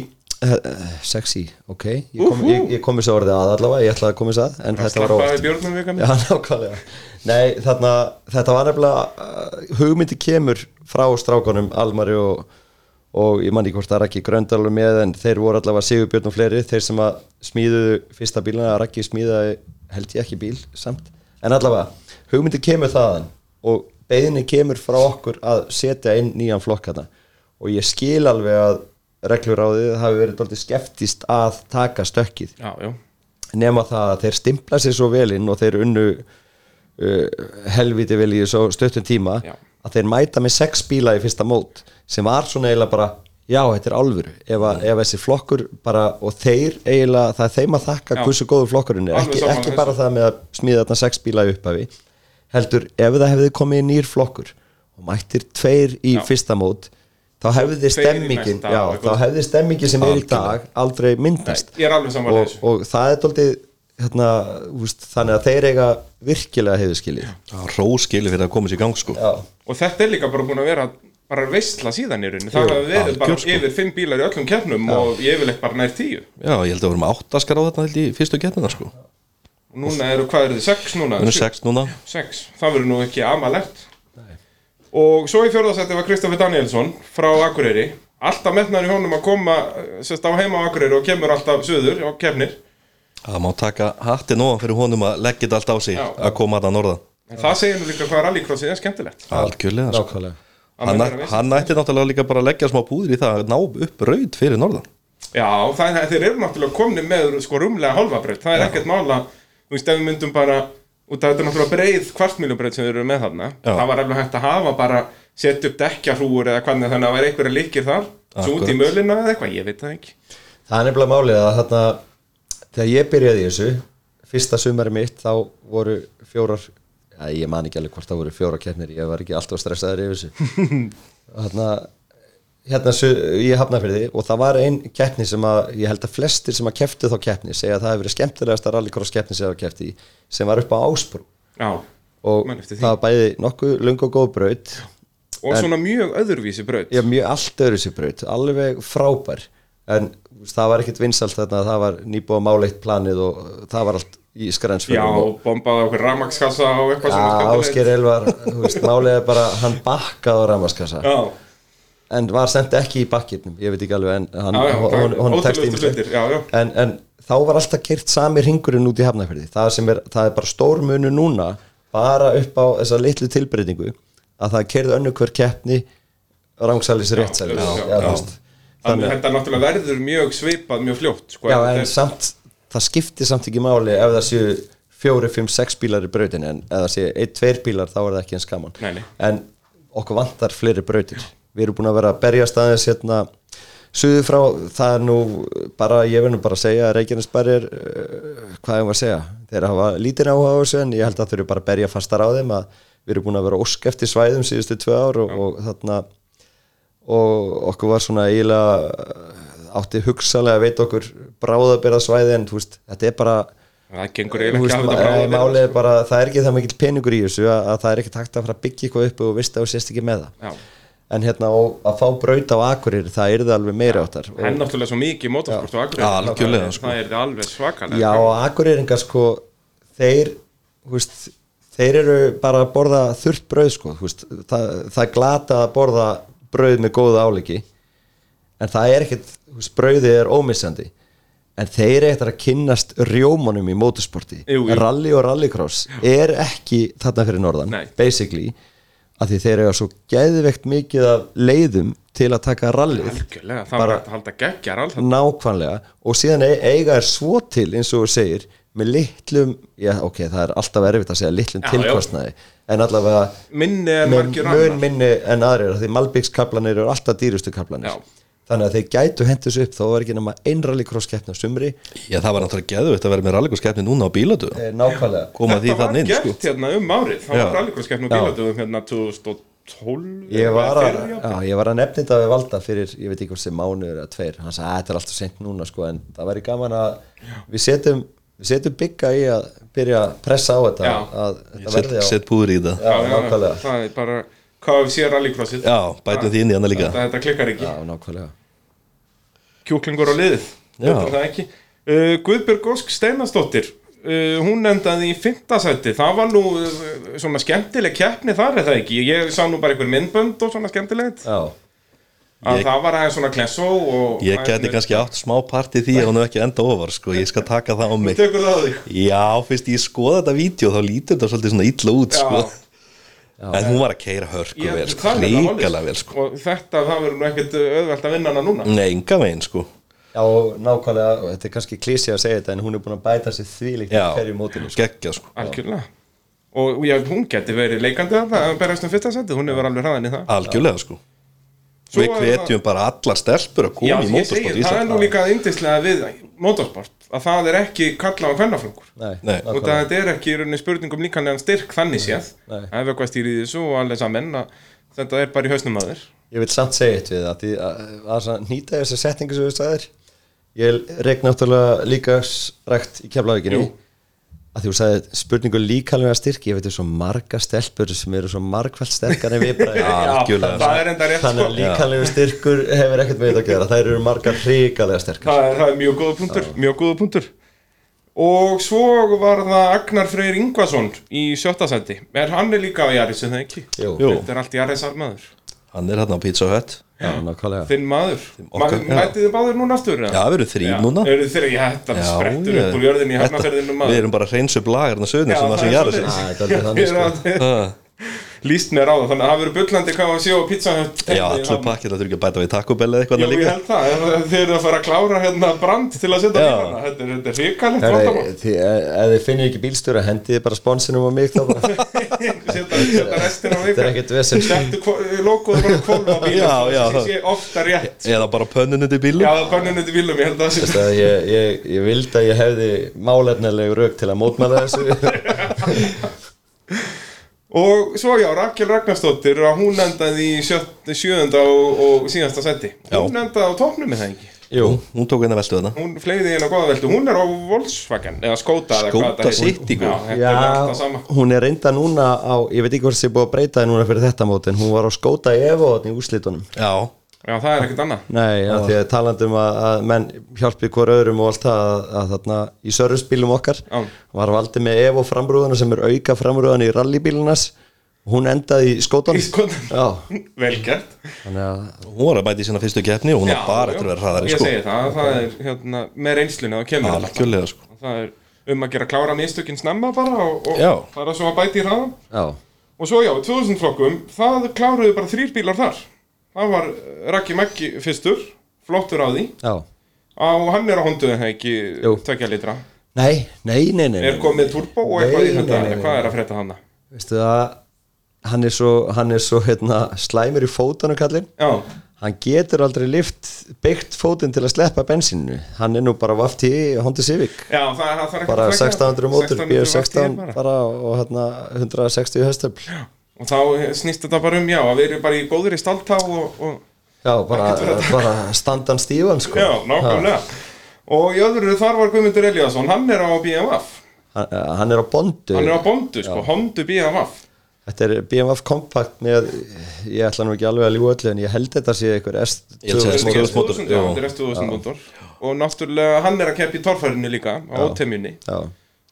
uh, sexy, ok ég kom, Úhú. ég, ég kom þessu orðið að allavega, ég ætlaði að koma þessu að en þetta var slappaði óvart björnum vika Já, nákvæmlega Nei, þarna, þetta var nefnilega uh, hugmyndi kemur frá strákunum Almari og, og ég man ekki hvort að Raki Gröndalur með en þeir voru allavega Sigurbjörn og fleiri þeir sem að smíðuðu fyrsta bílana að Raki smíðaði held ég ekki bíl samt en allavega, hugmyndi kemur þaðan og beðinni kemur frá okkur að setja inn nýjan flokkana og ég skil alveg að regluráðið hafi verið dálítið skeptist að taka stökkið Já, já, nema það að þeir stimpla sér svo vel inn og þeir unnu uh, helviti vel í svo stöttum tíma Já. að þeir mæta með sex bíla í fyrsta mót sem var svona eiginlega bara já, þetta er alvöru ef, Mm. að, ef þessi flokkur bara og þeir eiginlega, það er þeim að þakka Já. hversu góður flokkurinn er, Alveg ekki, sammála ekki þessu. bara það með að smíða þarna sex bíla í upphafi heldur, ef það hefði komið í nýr flokkur og mættir tveir í Já. fyrsta mót þá hefði Tveir í stemmingin, næsta já, og þá eitthvað. hefði stemmingin sem er í dag aldrei myndast ég er alveg samanlega og, þessu og það er doldið hérna, úst, þannig að þeir eiga virkilega hefur skiljið Róskili fyrir að koma sér í gang, sko já, og þetta er líka bara búin að vera bara veistla síðan í rauninu, það Jú, hafa verið bara algjör, sko. yfir fimm bílar í öllum keppnum og yfirleitt bara nær tíu Já, ég held að við vorum áttaskar á þetta held ég, í fyrstu getnina, sko og núna eru, hvað eru þið, sex núna? Við erum sex núna Sex, það verður nú ekki amalegt og svo í fjórðasætti var Kristoffer Danielsson frá Akureyri alltaf metnar í honum að koma eh, sérst á heima á Akureyri og kemur alltaf söður á keppnir Það má taka hattin ofan fyrir honum að leggja þetta allt á sig Já. að koma þetta norðan en það segir nú líka hvað rallycrossið er skemmtilegt Algjörlega, sko nákvæmlega Að Hann, menn eru að veisla. hann ætti náttúrulega líka bara að leggja smá púður í það að ná upp raud fyrir norðan Já, það, er- þeir eru náttúrulega komni með sko rúmlega hálfabreyt, það er ekkert mála þú veist, ef við myndum bara út af þetta er náttúrulega breið kvartmílubreyt sem þeir eru með þarna Já. það var alveg hægt að hafa bara setja upp dekkjarhrúur eða hvernig þannig að það væri einhverja líkir þar svo út í Akkurat. mölina eða eitthvað, ég veit það ekki það er nefnilega málið að þarna þegar ég byrjaði í þessu fyrsta sumari mitt þá voru fjórar já, ég man ekki alveg hvort það voru fjórar keppnir ég var ekki alltaf stressaður yfir þessu þarna hérna su- ég hafna fyrir því og það var ein keppni sem að ég held að flestir sem að kepptu þá keppni segja að það hefur verið skemmtilegasta rallycross keppni sem það keppti í sem var upp á Ásbrú Já, og Man eftir því. það var bæði nokkuð lung og góð braut og svona mjög öðurvísi breyt já, mjög allt öðru sér braut, alveg frábær en þú veist, það var ekkit vinsalt þarna, það var nýbúið að mála eitt planið og uh, það var allt í Já, skrensfjörnum og bombaði okkur ramakskassa og eitthvað sem Já, var Ásker Elvar, þú veist, máliði bara hann bakkaði á ramaskassa Já, en var semt ekki í bakkinnum, ég veit ekki alveg en hann, Já, já, hon, hon, hon tekst ótrúlegustu ýmislegt. hlutir, já, já. en, en þá var alltaf keirt sami ringurinn út í hafnafyrði það, sem er, það er bara stór munu núna bara upp á þessa litlu tilbreytingu að það keirði önnu hver keppni rángsælis réttsælis já, já, já. þú veist. þannig Þannig að þetta náttúrulega verður mjög svipað mjög fljótt sko, já, ef en þetta samt það skiptir samt ekki máli ef það séu fjóri, fimm, sex bílar í brautin en ef það séu ein, tveir bílar þá er það ekki eins gaman Nei, nei. en okkur vantar fleiri brautir við erum búin að vera að berjast aðeins hérna suðu frá, það er nú bara, ég verður bara að segja að Reykjanesbær er uh, hvað ég var að segja þeir hafa lítið áhuga á þessu en ég held að þeir eru bara að berja fastar á þeim að við erum búin að vera ósk eftir svæðum síðustu tvö ár og, og þarna og okkur var svona eiginlega eh, átti hugsalega að veita okkur bráðabera svæði en þú veist, þetta er bara er- það gengur þú eiginlega veist, ekki sko. að ma- þetta eh, bráðabirgðalag. málið er bara, það er ekki það mikill peningur í þessu að, að það er ekki takt að fara að byggja eitthvað upp og veist að þú sést ekki með það Já. en hérna og að fá braut á akurir það yrði alveg meira áttar En náttúrulega svo mikið motorsport og akkurat Algjörlega, sko. Það er það alveg svakalega Já, og akureyringar sko þeir, þú veist, þeir eru bara að borða þurrt brauð sko, þú veist, það, það er glata að borða brauð með góðu álíki en það er ekkert þú veist, brauðið er ómissandi en þeir eru eftir að kynnast rjómanum í motorsporti, Jú, jú. rally og rallycross er ekki þarna fyrir norðan Nei. basically að því þeir eru svo geðveikt mikið af leiðum til að taka rallið Algjörlega, það var Bara- hægt að halda geggjar alltaf nákvæmlega og síðan e- eiga er svo til eins og þú segir með litlum, já ok, það er alltaf erfitt að segja litlum Já, já. tilkostnaði en allavega Minni en með margir mun annar minni en aðrir af því Malbygskablanir eru alltaf dýrustu kablanir Já. þannig að þeir gætu hendur þessu upp þá er ekki nema einrali krosskeppna sumri Já, það var náttúrulega geðvögt að vera með rallikurskeppni núna á bílatu eh, nákvæmlega koma því Þetta var þannig inn, gert sko hérna um árið Það Já. var rallycrosskeppnum Já. bíladöðum hérna 2012 Ég var, eða að, fyrr, já. já, ég var að nefna þetta við valda fyrir, ég veit ekki hvort sem mánuður eða tveir, hann sagði að þetta er alltaf sent núna sko, en það væri gaman að við setjum, við setjum bygga í að byrja að pressa á þetta Já. að þetta Sett, verði á, sett púður í það já, Já, já, nákvæmlega Það er bara KFC rallycrossið Já, bætum því inn í hana líka Þetta, þetta klikkar ekki Já, nákvæmlega Kjúklingur á liðið Já. Þetta er það ekki uh, Guðbjörg Ósk Steinasdóttir Uh, hún endaði í fintasætti það var nú uh, svona skemmtileg keppni þar eða ekki, ég sá nú bara einhver myndbönd og svona skemmtilegt Já, að Ég- það var aðeins svona klessó og Ég gæti kannski átt smá part í því að hún er ekki enda ofar, sko Ég skal taka það á mig tekur það á þig Já, fyrst ég skoða þetta vídeo þá lítur þetta svolítið svona illa út sko. en hún var að keira hörku Ég- vel það sko, er nefnilega málið. ríkala vel sko. og þetta það verður nú ekkert auðvelt að vinna hana núna Nei, enga veginn sko já og nákvæmlega, og þetta er kannski klísi að segja þetta en hún er búin að bæta sér þvílíkt í Já, hverju mótinu sko. geggja sko algjörlega og já, hún geti verið leikandi þarna að berast um fyrsta seti, hún hefur alveg hraðan í það Algjörlega sko Svo Við er hvetjum bara alla stelpur að já, koma í ég segi, mótorsport það er nú Ísland líka indislega við motorsport að það er ekki kalla á kvennaflokkur Nei, Nei. og nákvæmlega það er ekki í rauninni spurningum líkanlegan styrk þannig séð, Nei. ef eitthvað stýrið í þessu og alveg saman að þetta er bara í hausnum aður Ég vil samt segja eitt við það því að, að, að nýta þessa setningu sem við sagðir ég reik náttúrulega líka rækt í keflavíkinu Jú. að því þú sagði spurningu líkalega styrki ég veit þú svo marga stelpur sem eru svo margfald sterkar en við bara Algjörlega. það er enda rétt þannig sko að líkalegu styrkur hefur ekkert með þetta að gera þær eru margar hrikalega sterkar það er, það er mjög góða punktur, mjög góða punktur og svo var það Agnar Freyr Ingvason í sjötta sendi er hann er líka á Jaris eða ekki Jú. Jú. þetta er allt Jaris armaður Hann er hérna á Pizza Hut Já, nákvæmlega þinn maður, okkar, Ma- já. mætið þið báður núna aftur Já, við erum þrý núna eru þeir ekki hætt að Já, sprettur ég- upp úr jörðin í þetta- hefnaferðinu Við maður erum bara að reynsa upp lagarna söðin sem það sem það jæra er sér Já, þetta er svoleiðis. alveg þannig, sko. Ég er að- líst mér á það, þannig að það verður bullandi hvað að sjá og pizza Hut Já, teiknið í allur það. pakkir það þurfi ekki að bæta við takkubell eða eitthvað Já, annað ég líka held það, en þeir eru að fara að klára hérna brand til að setja Já. bílana Þetta er- þetta er hrikalegt vandamál Herri, þið, ef þið finnir ekki bílstjóra hendið þið bara sponsinum á mig þá bara setja setja restina á Þetta er ekkert vesen. sko. Settu logoð bara kólfa bíl Já, já. Það sko, sé ofta rétt sko. Eða bara pönnunni til bílum Já, það konun undir bílum, ég held að það Veist sé að ég, ég, ég vildi að ég hefði málefnilegu rauk til að mótmæla þessu Og svo já, Rakel Ragnarsdóttir að hún endaði í sjött- sjöunda og, og síðasta seti Hún endaði á topnum með það ekki Jú, Hún tók hérna velstuðuna Hún fleiði hérna góða veldu, hún er á Volkswagen eða Skoda eða hvað Skoda þetta heitir. City, Já, sko. guð. þetta er Já, alltaf sama hún er reynda núna á, ég veit ekki hvort sem er búið að breyta það núna fyrir þetta mót en hún var á skóta í Evo þarna í úrslitunum Já, Já, það er ekkert annað Nei, af því að talandi um að, að menn hjálpi hver öðrum og allt það að, að þarna í sörfusbílum okkar Já. var valdið með Evo framrúðuna sem er auka framrúðan í rallybílunas hún endaði í Í skótan Skodanum. Já, Vel gert þannig að hún var að bæta í sína fyrstu keppni og hún Já, var bara já. eftir að vera Ég hraðari sko. segi það, það er hérna, með reynslunni þá kemur þetta. Algjörlega sko það er um að gera klára mistökinn snemma bara og, Já. og fara svo að bæti í hraðan Já, og svo já, 2000 flokkum, það kláruðu bara þrýr bílar þar það var eh, Raki Maggi fyrstur flottur á því, já og hann er á hondu en það ekki Jú. tvekja litra, Nei, nei, nei, nei, nei. er komið turbo og Nei, eitthvað í nei, þetta, nei, nei. hvað er að frétta hana Veistu það, hann er svo, hann er svo hérna, slæmur í fótunum kallinn já, hann getur aldrei lift byggt fótinn til að sleppa bensinu hann er nú bara vaft í Honda Civic já það, það þarf ekki bara að flækja það. 1600 mótur 1600 BR16 bara. bara og hérna 160 höstöfl og þá snýst þetta bara um, já, að við erum bara í góðri staldtá og, og já, bara, bara standan stífan sko. já, nákvæmlega og í öðru þar var Guðmundur Eliasson, hann er á BMF hann, hann er á bondu hann er á bondu, sko, hondu BMF þetta er BMF kompakt með ég ætla nú ekki alveg að ljúga öllu en ég held þetta sé einhver Ég held að S2000 þetta sé- mótor. 2000, Mótor, já. já, þetta er S2000 mótor og náttúrulega hann er að keppa í torfærinu líka á ótemjunni, já,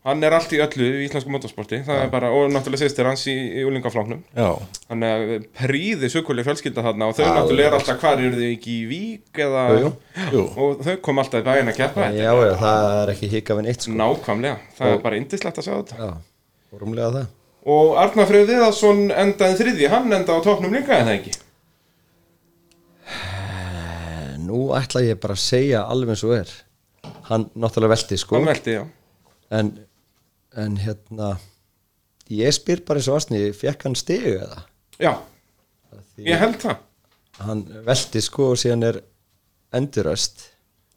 hann er allt í öllu í íslensku motorsporti, það er bara og náttúrulega sýstir hans í, í úlingafláknum Já, þannig að príði sökuleg fjölskylda þarna og þau Já, náttúrulega er alltaf hvar eru þau ekki í vík eða Jú, jú. jú og þau kom alltaf í bæinn að keppa þetta já, já, það er ekki hikað við neitt er sko. nákvæmlega, það er bara indislegt að sjá þetta já, og rúmlega það Og Arnar Freyr Viðarsson endaði þriði, hann endaði á toppnum líka en það ekki En nú ætla ég bara að segja alveg eins og er Hann náttúrulega velti sko Hann velti, já en, en hérna Ég spyr bara eins og astni Fekk hann stigu eða? Já, ég held það Hann velti sko og síðan er enduröst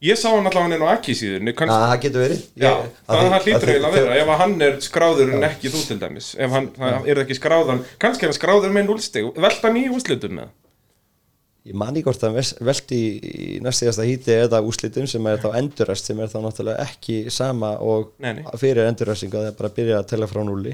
Ég sá hann allavega inn á Aki síðunni Að kannski, það getur verið Já, Ah, Ég- að það, því- það hlýtur því- eiginlega að vera ef að hann er skráður en ekki þú til dæmis ef hann það er ekki skráðan kannski er hann skráður með núlstig velta hann í úrslitum með Ég man ekki hvort að velti í í næstíðasta híti eða úslitum sem er þá enduröst sem er þá náttúrulega ekki sama og Nei, nei. fyrir enduröstingu að það er bara að byrja að tella frá núli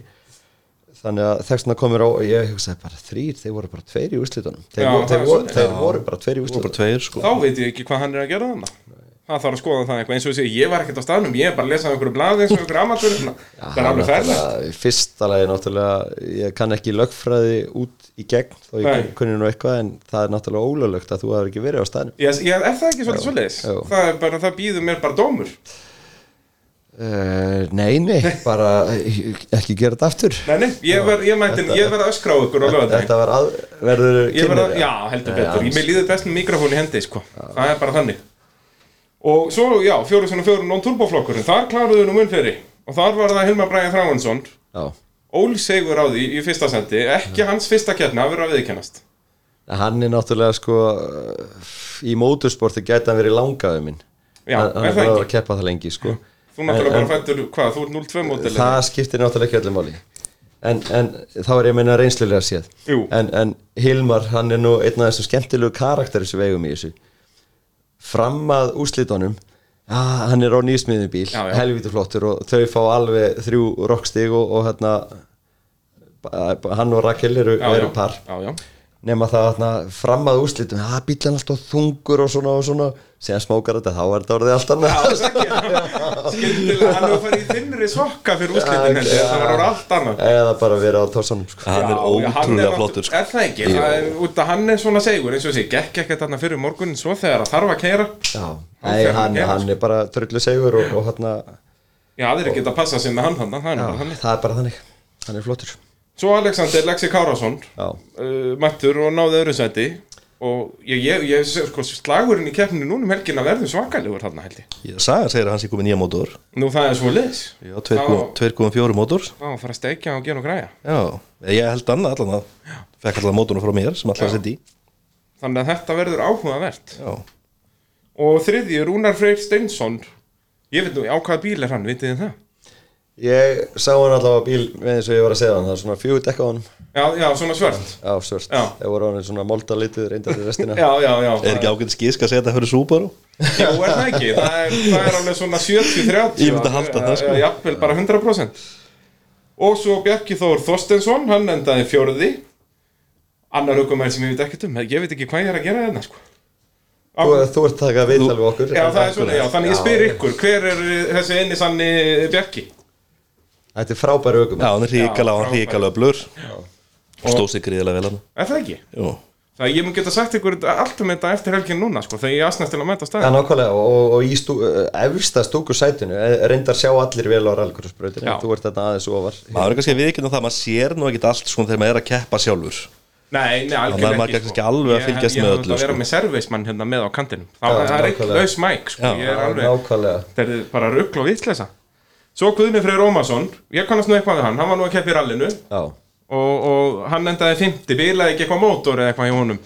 þannig að þess vegna komur á og ég hugsaði bara þrýr, þeir voru bara tveir í úslitunum þeir, Já, voru, það er þeir, voru, svoleiðis. þeir voru bara tveir í Það voru úslitunum bara tveir sko þá veit ég ekki hvað hann er að gera þannig það þarf að skoða það eitthvað eins og þessi ég var ekkert á staðnum ég er bara að lesa á einhverju blaði eins og einhverju amatur það er alveg færlega Náttúrulega, í fyrsta lagi náttúrulega ég kann ekki lögfræði út í gegn þó ég Nei. Nei. kunni nú eitthvað en það er náttúrulega ólöglögt að þú hafði ekki verið á staðnum Ég, ég, er það ekki svolítið svoleiðis? já. Það, er bara, það býður mér bara dómur uh, Nei, nei, bara eh, ekki gera þetta aftur Nei, nei, ég verð ég mætti- ég verð að öskra á ykkur á lögadaginn Þetta var að, verður Ég verð að, kynir já, heldur betur, ég með líður best með mikrofón í hendi, sko Það er bara þannig Og svo, já, fjóru svona fjóru non-turboflokkurinn Þar kláruðu nú mun fyrir Og þar var það Hilmar Bræði Þráinsson já. Ólsegur á því í fyrsta sendi Ekki hans fyrsta kjærna að vera að viðkennast Hann er náttúrulega sko uh, í mótorsporti gæti hann verið langaðu minn Já, hann, hann er er það bara að ekki? keppa það lengi sko Þú náttúrulega En- bara fættur, hvað, þú ert 0-2 mótil það skiptir náttúrulega ekki öllum máli en, en þá er ég að meina reynslulega séð Jú. en, en Hilmar hann er nú einn af þessum skemmtilegu karakter sem við eigum í þessu fram að úslitunum ah, hann er á nýsmiðum bíl Já, já. helvítið flottur og þau fá alveg þrjú rockstig og, og hérna ba- hann og Rakel eru, eru par Já, já, nema það þarna fram að úrslitum að bílan alltaf þungur og svona og svona síðan smókar þetta, þá er þetta orðið allt annað það er ekki Skildilega, hann hefur farið í þinnri sokka fyrir úrslitin heldur Það var orðið allt annað eða bara vera á tossanum sko. Hann er Já, já, hann ótrúlega náttú- flottur sko Er það ekki, það er, út að hann er svona segur eins og þessi, gekk ekkert þarna fyrir morgun svo þegar það þarf að keira Já, Hann nei, fer hann, að gera, hann er bara þröllu segur og, og hérna, Já, aðrir geta að passa sig með hann þannig, það er nú bara þannig það er bara þannig hann er flottur Svo Alexander Lexi Kárásson uh, Já, mættur og náði öðru sæti og ég, ég, ég sko, slagurinn í keppninu núna um helgina verður svakalegur þarna held ég Ég- Sagan segir að hans er komið nýja mótor Nú það er svo leis Já, 2.4 mótor Þá að fara að steikja og gera og græja Já, Eh, ég held annað allan að Fekk allan mótorna frá mér sem allan sett í Þannig að þetta verður áhugavert Já, Og þriðji, Rúnar Freyr Steinsson Ég veit nú á hvaða bíl er hann, vitið þið það? ég sá hann allavega á bíl með eins og ég var að segja hann, það er svona fjögur dekka á hann Já, já, svona svört á svörst, Já. það voru hann svona molda litið reyndar til restina Já, já, já er ekki ágætt skísk að segja þetta fyrir Subaru? Jú, er það ekki, það er, það er alveg svona 70-30 Ég myndi að halda það, sko. Eða Jafnvel bara 100% Og svo Bjarki Þór Þorstensson, hann endaði fjórði Annar aukumæður sem ég veit ekkert um Ég veit ekki hvað ég er að gera hérna, sko Á, þú, þú ert takað viðtal við okkur Já, það er svona, já, þannig ég Já. spyr ykkur Hver er þessi einni sanni Bjarki? Þetta er frábæri aukum Já, hann er ríkala Já, og hann ríkala blur Og- Stóð sig gríðilega vel hann Er það ekki? Jú, Það ég mun geta sagt ykkur allt um þetta eftir helgin núna, sko Þegar ég asnast til að mæta á Já, staðinn nákvæmlega, og, og í stú, efsta stúku sætinu eh, reyndar sjá allir vel á rallkursbröðinu Já. þú ert þarna aðeins ofar maður er kannski að viðkynna það maður sér nú ekkit allt svona þegar maður er að keppa sjálfur Nei, nei, Þannig að algjörlega sko. maður kannski alveg að Ég- fylgjast ég með hefði öllu, að vera sko. með servismann hérna með á kantinum Þá Já, það er ekki nákvæmlega. laus mæk, sko Já. Ég er alveg nákvæmlega Þetta er bara ruggl og vitleysa Svo Guðni Freyr Ómarsson, ég kannast nú eitthvað við hann Hann var nú að keppa í rallinu já. og, og hann endaði 50, bilaði ekki eitthvað mótor eða eitthvað hjá honum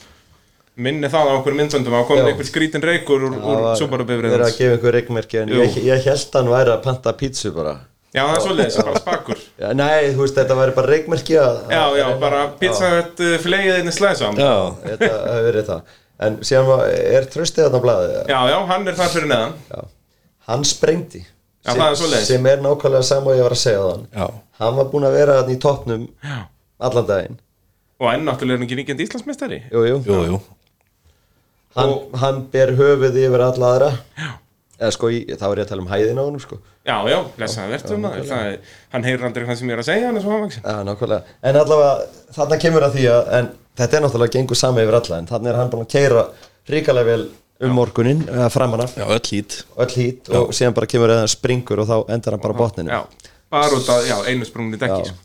Minni það á okkur myndsöndum að komin Já. einhver skrítin reykur úr, úr Það var verið að súbarubifriðans gefa einhver reikmerki en Jú. ég, ég held hann væri að panta pítsu bara Já, það er svoleiðis, bara spakur já, Nei, þú veist, þetta væri bara reikmerki að, Já, já, bara pizza eh, þetta flegið inn í slæðsam já. Já, Þetta hefur verið það En síðan var, er tröstið þarna á blaði já, hann er þar fyrir neðan já. Hann sprengdi Já, sem, það er svoleiðis. sem er nákvæmlega sama og ég var að segja á hann Já. Hann var búinn að vera þarna í toppnum Já. allan daginn Og enn náttúrulega er hann ekki ríkjandi Íslandsmeistari Jú, jú, jú, jú Hann, Og- hann ber höfuð yfir alla aðra Já Eða sko, í, þá er ég að tala um hæðina á honum sko Já, já, blessaði verðum maður það er- Hann heyrir aldrei hvað sem ég er að segja, hann er svo hafvaxin Já, nákvæmlega. En allavega, þarna kemur að því að, en þetta er náttúrulega gengur sami yfir alla, en þarna er hann búin að keira ríkalega vel um morgunin, eða framan af, Já, öll hít öll hít og síðan bara kemur eða springur og þá endar hann bara á botninu. Já, bara út af, já, einu sprungni dekki Já. sko.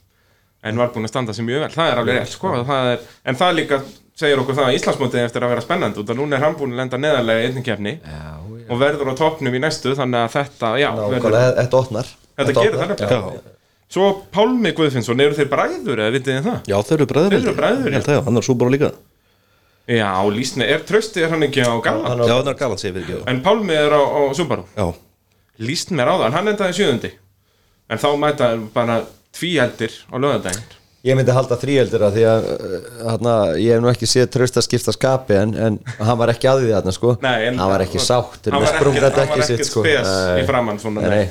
en var búin að standa sig mjög vel, það er alveg rétt sko, það er, en það líka segir okkur það að Íslandsmótið er eftir að vera spennandi út að núna er hann búin að lenda neðarlega í einnig kefni já. og verður á toppnum í næstu þannig að þetta, já, verður, Nákvæmlega, þetta opnar þetta gerir það opnar. nefnilega. Svo Pálmi Guðfinnsson, eru þeir bræður eða vitið þið það? Já, þeir eru bræður Þeir eru bræður, Ég held það, já, hann er súbúr líka Já, Lísni, er trösti, er hann ekki á Hann Galland? á- Já, hann er galan, segir við ekki En Pálmi er á, á Subaru Já, Líst mér á það, en hann endaði sjöðundi En þá mæta bara tvíeldir á löðardaginn Ég myndi halda þríeldur að því að hana, ég hef nú ekki séð tröst að skipta skapi en, en hann var ekki að því þarna sko Nei, en- hann var ekki sáttur Hann með var sprungra ekkert- hann var dekki sitt, ekkert sko. spes Nei. í framan, svona, Nei, nei. nei.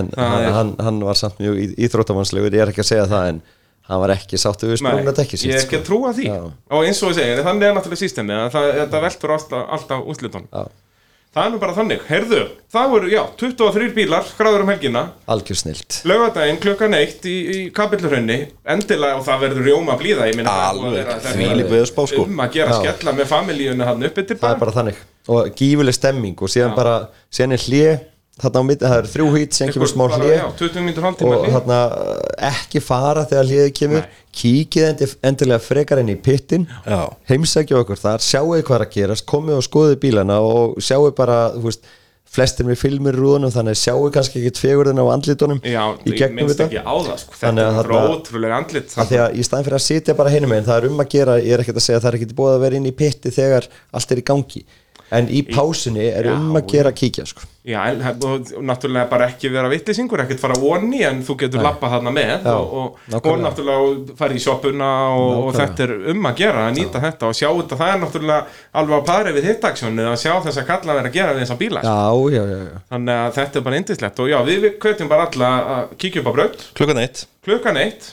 En Það hann, er- hann, hann var samt mjög í- íþróttamannslegur, ég er ekki að segja það en hann var ekki sáttur við Nei, sprungra dekki Ég sitt er ekki sko. að trúa því Já. Og eins og ég segir, þannig er náttúrulega sístemni Þetta veltur alltaf, alltaf útlutunum Já. Það er nú bara þannig, heyrðu Það voru, já, 23 bílar, skráður um helgina Algjör snilt Laugardaginn klukkan eitt í, í kapillurhönni Endilega, og það verður rjóma blíða Ég minna Alveg, þvílík veðurspá, sko. Um að gera Já. skella með familíunni hann upp yfir Það er bara þannig og gífuleg stemming og síðan bara, síðan er hlje þarna á mitt, það er þrjú hít, síðan kemur smá Bara, hlje já, 20 mínútur hálftíma og hlé. þarna uh, ekki fara þegar hliðið kemur Nei. kíkið endi, endilega frekar inn í pittin Já. heimsækja okkur þar, sjáu hvað er að gerast komið og skoðu bílana og sjáu bara þú veist, flestir með filmir rúðunum þannig sjáu kannski ekki tvegurðina á andlitunum Já, í ég gegnum minnst þetta ekki á það sko. Þannig Þetta að er þarna- ótrúlega andlit af því að í staðin fyrir að sitja bara hinum einn það er um að gera, ég er ekkert að segja það er ekkert búið að vera inn í pitti þegar allt er í gangi en í pásunni er Já, um að gera að kíkja sko. Já, en og, og náttúrulega bara ekki vera vittlisingur ekkert fara vonni en þú getur lappa þarna með Já, og, og, og nákvæmlega. náttúrulega fara í sjoppuna og, og Nákvæmlega. þetta er um að gera að nýta þetta og sjá þetta, það er náttúrulega alveg á pari við hittaksjónu að sjá þess að kalla vera að gera við þessa bíla já, já, já, já. þannig að þetta er bara indislegt og já, við, við hvetjum bara alla að kíkja upp á braut klukkan eitt klukkan eitt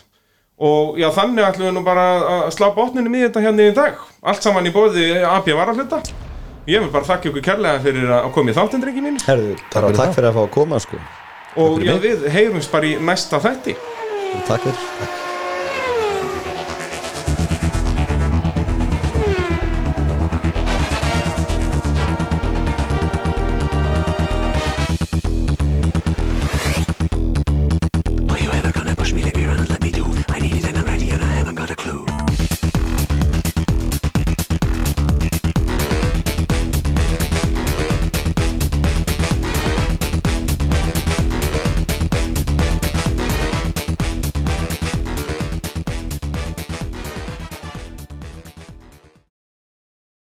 og já, þannig ætlum við nú bara að slá botninum í þetta hérna í dag allt saman í bóði AB varahluta ég vil bara þakka ykkur kærlega fyrir að koma í þáttinn, drengi mín Herðu, bara fyrir takk fyrir að fá að koma sko. og já, við heyrums bara í næsta þætti takk fyrir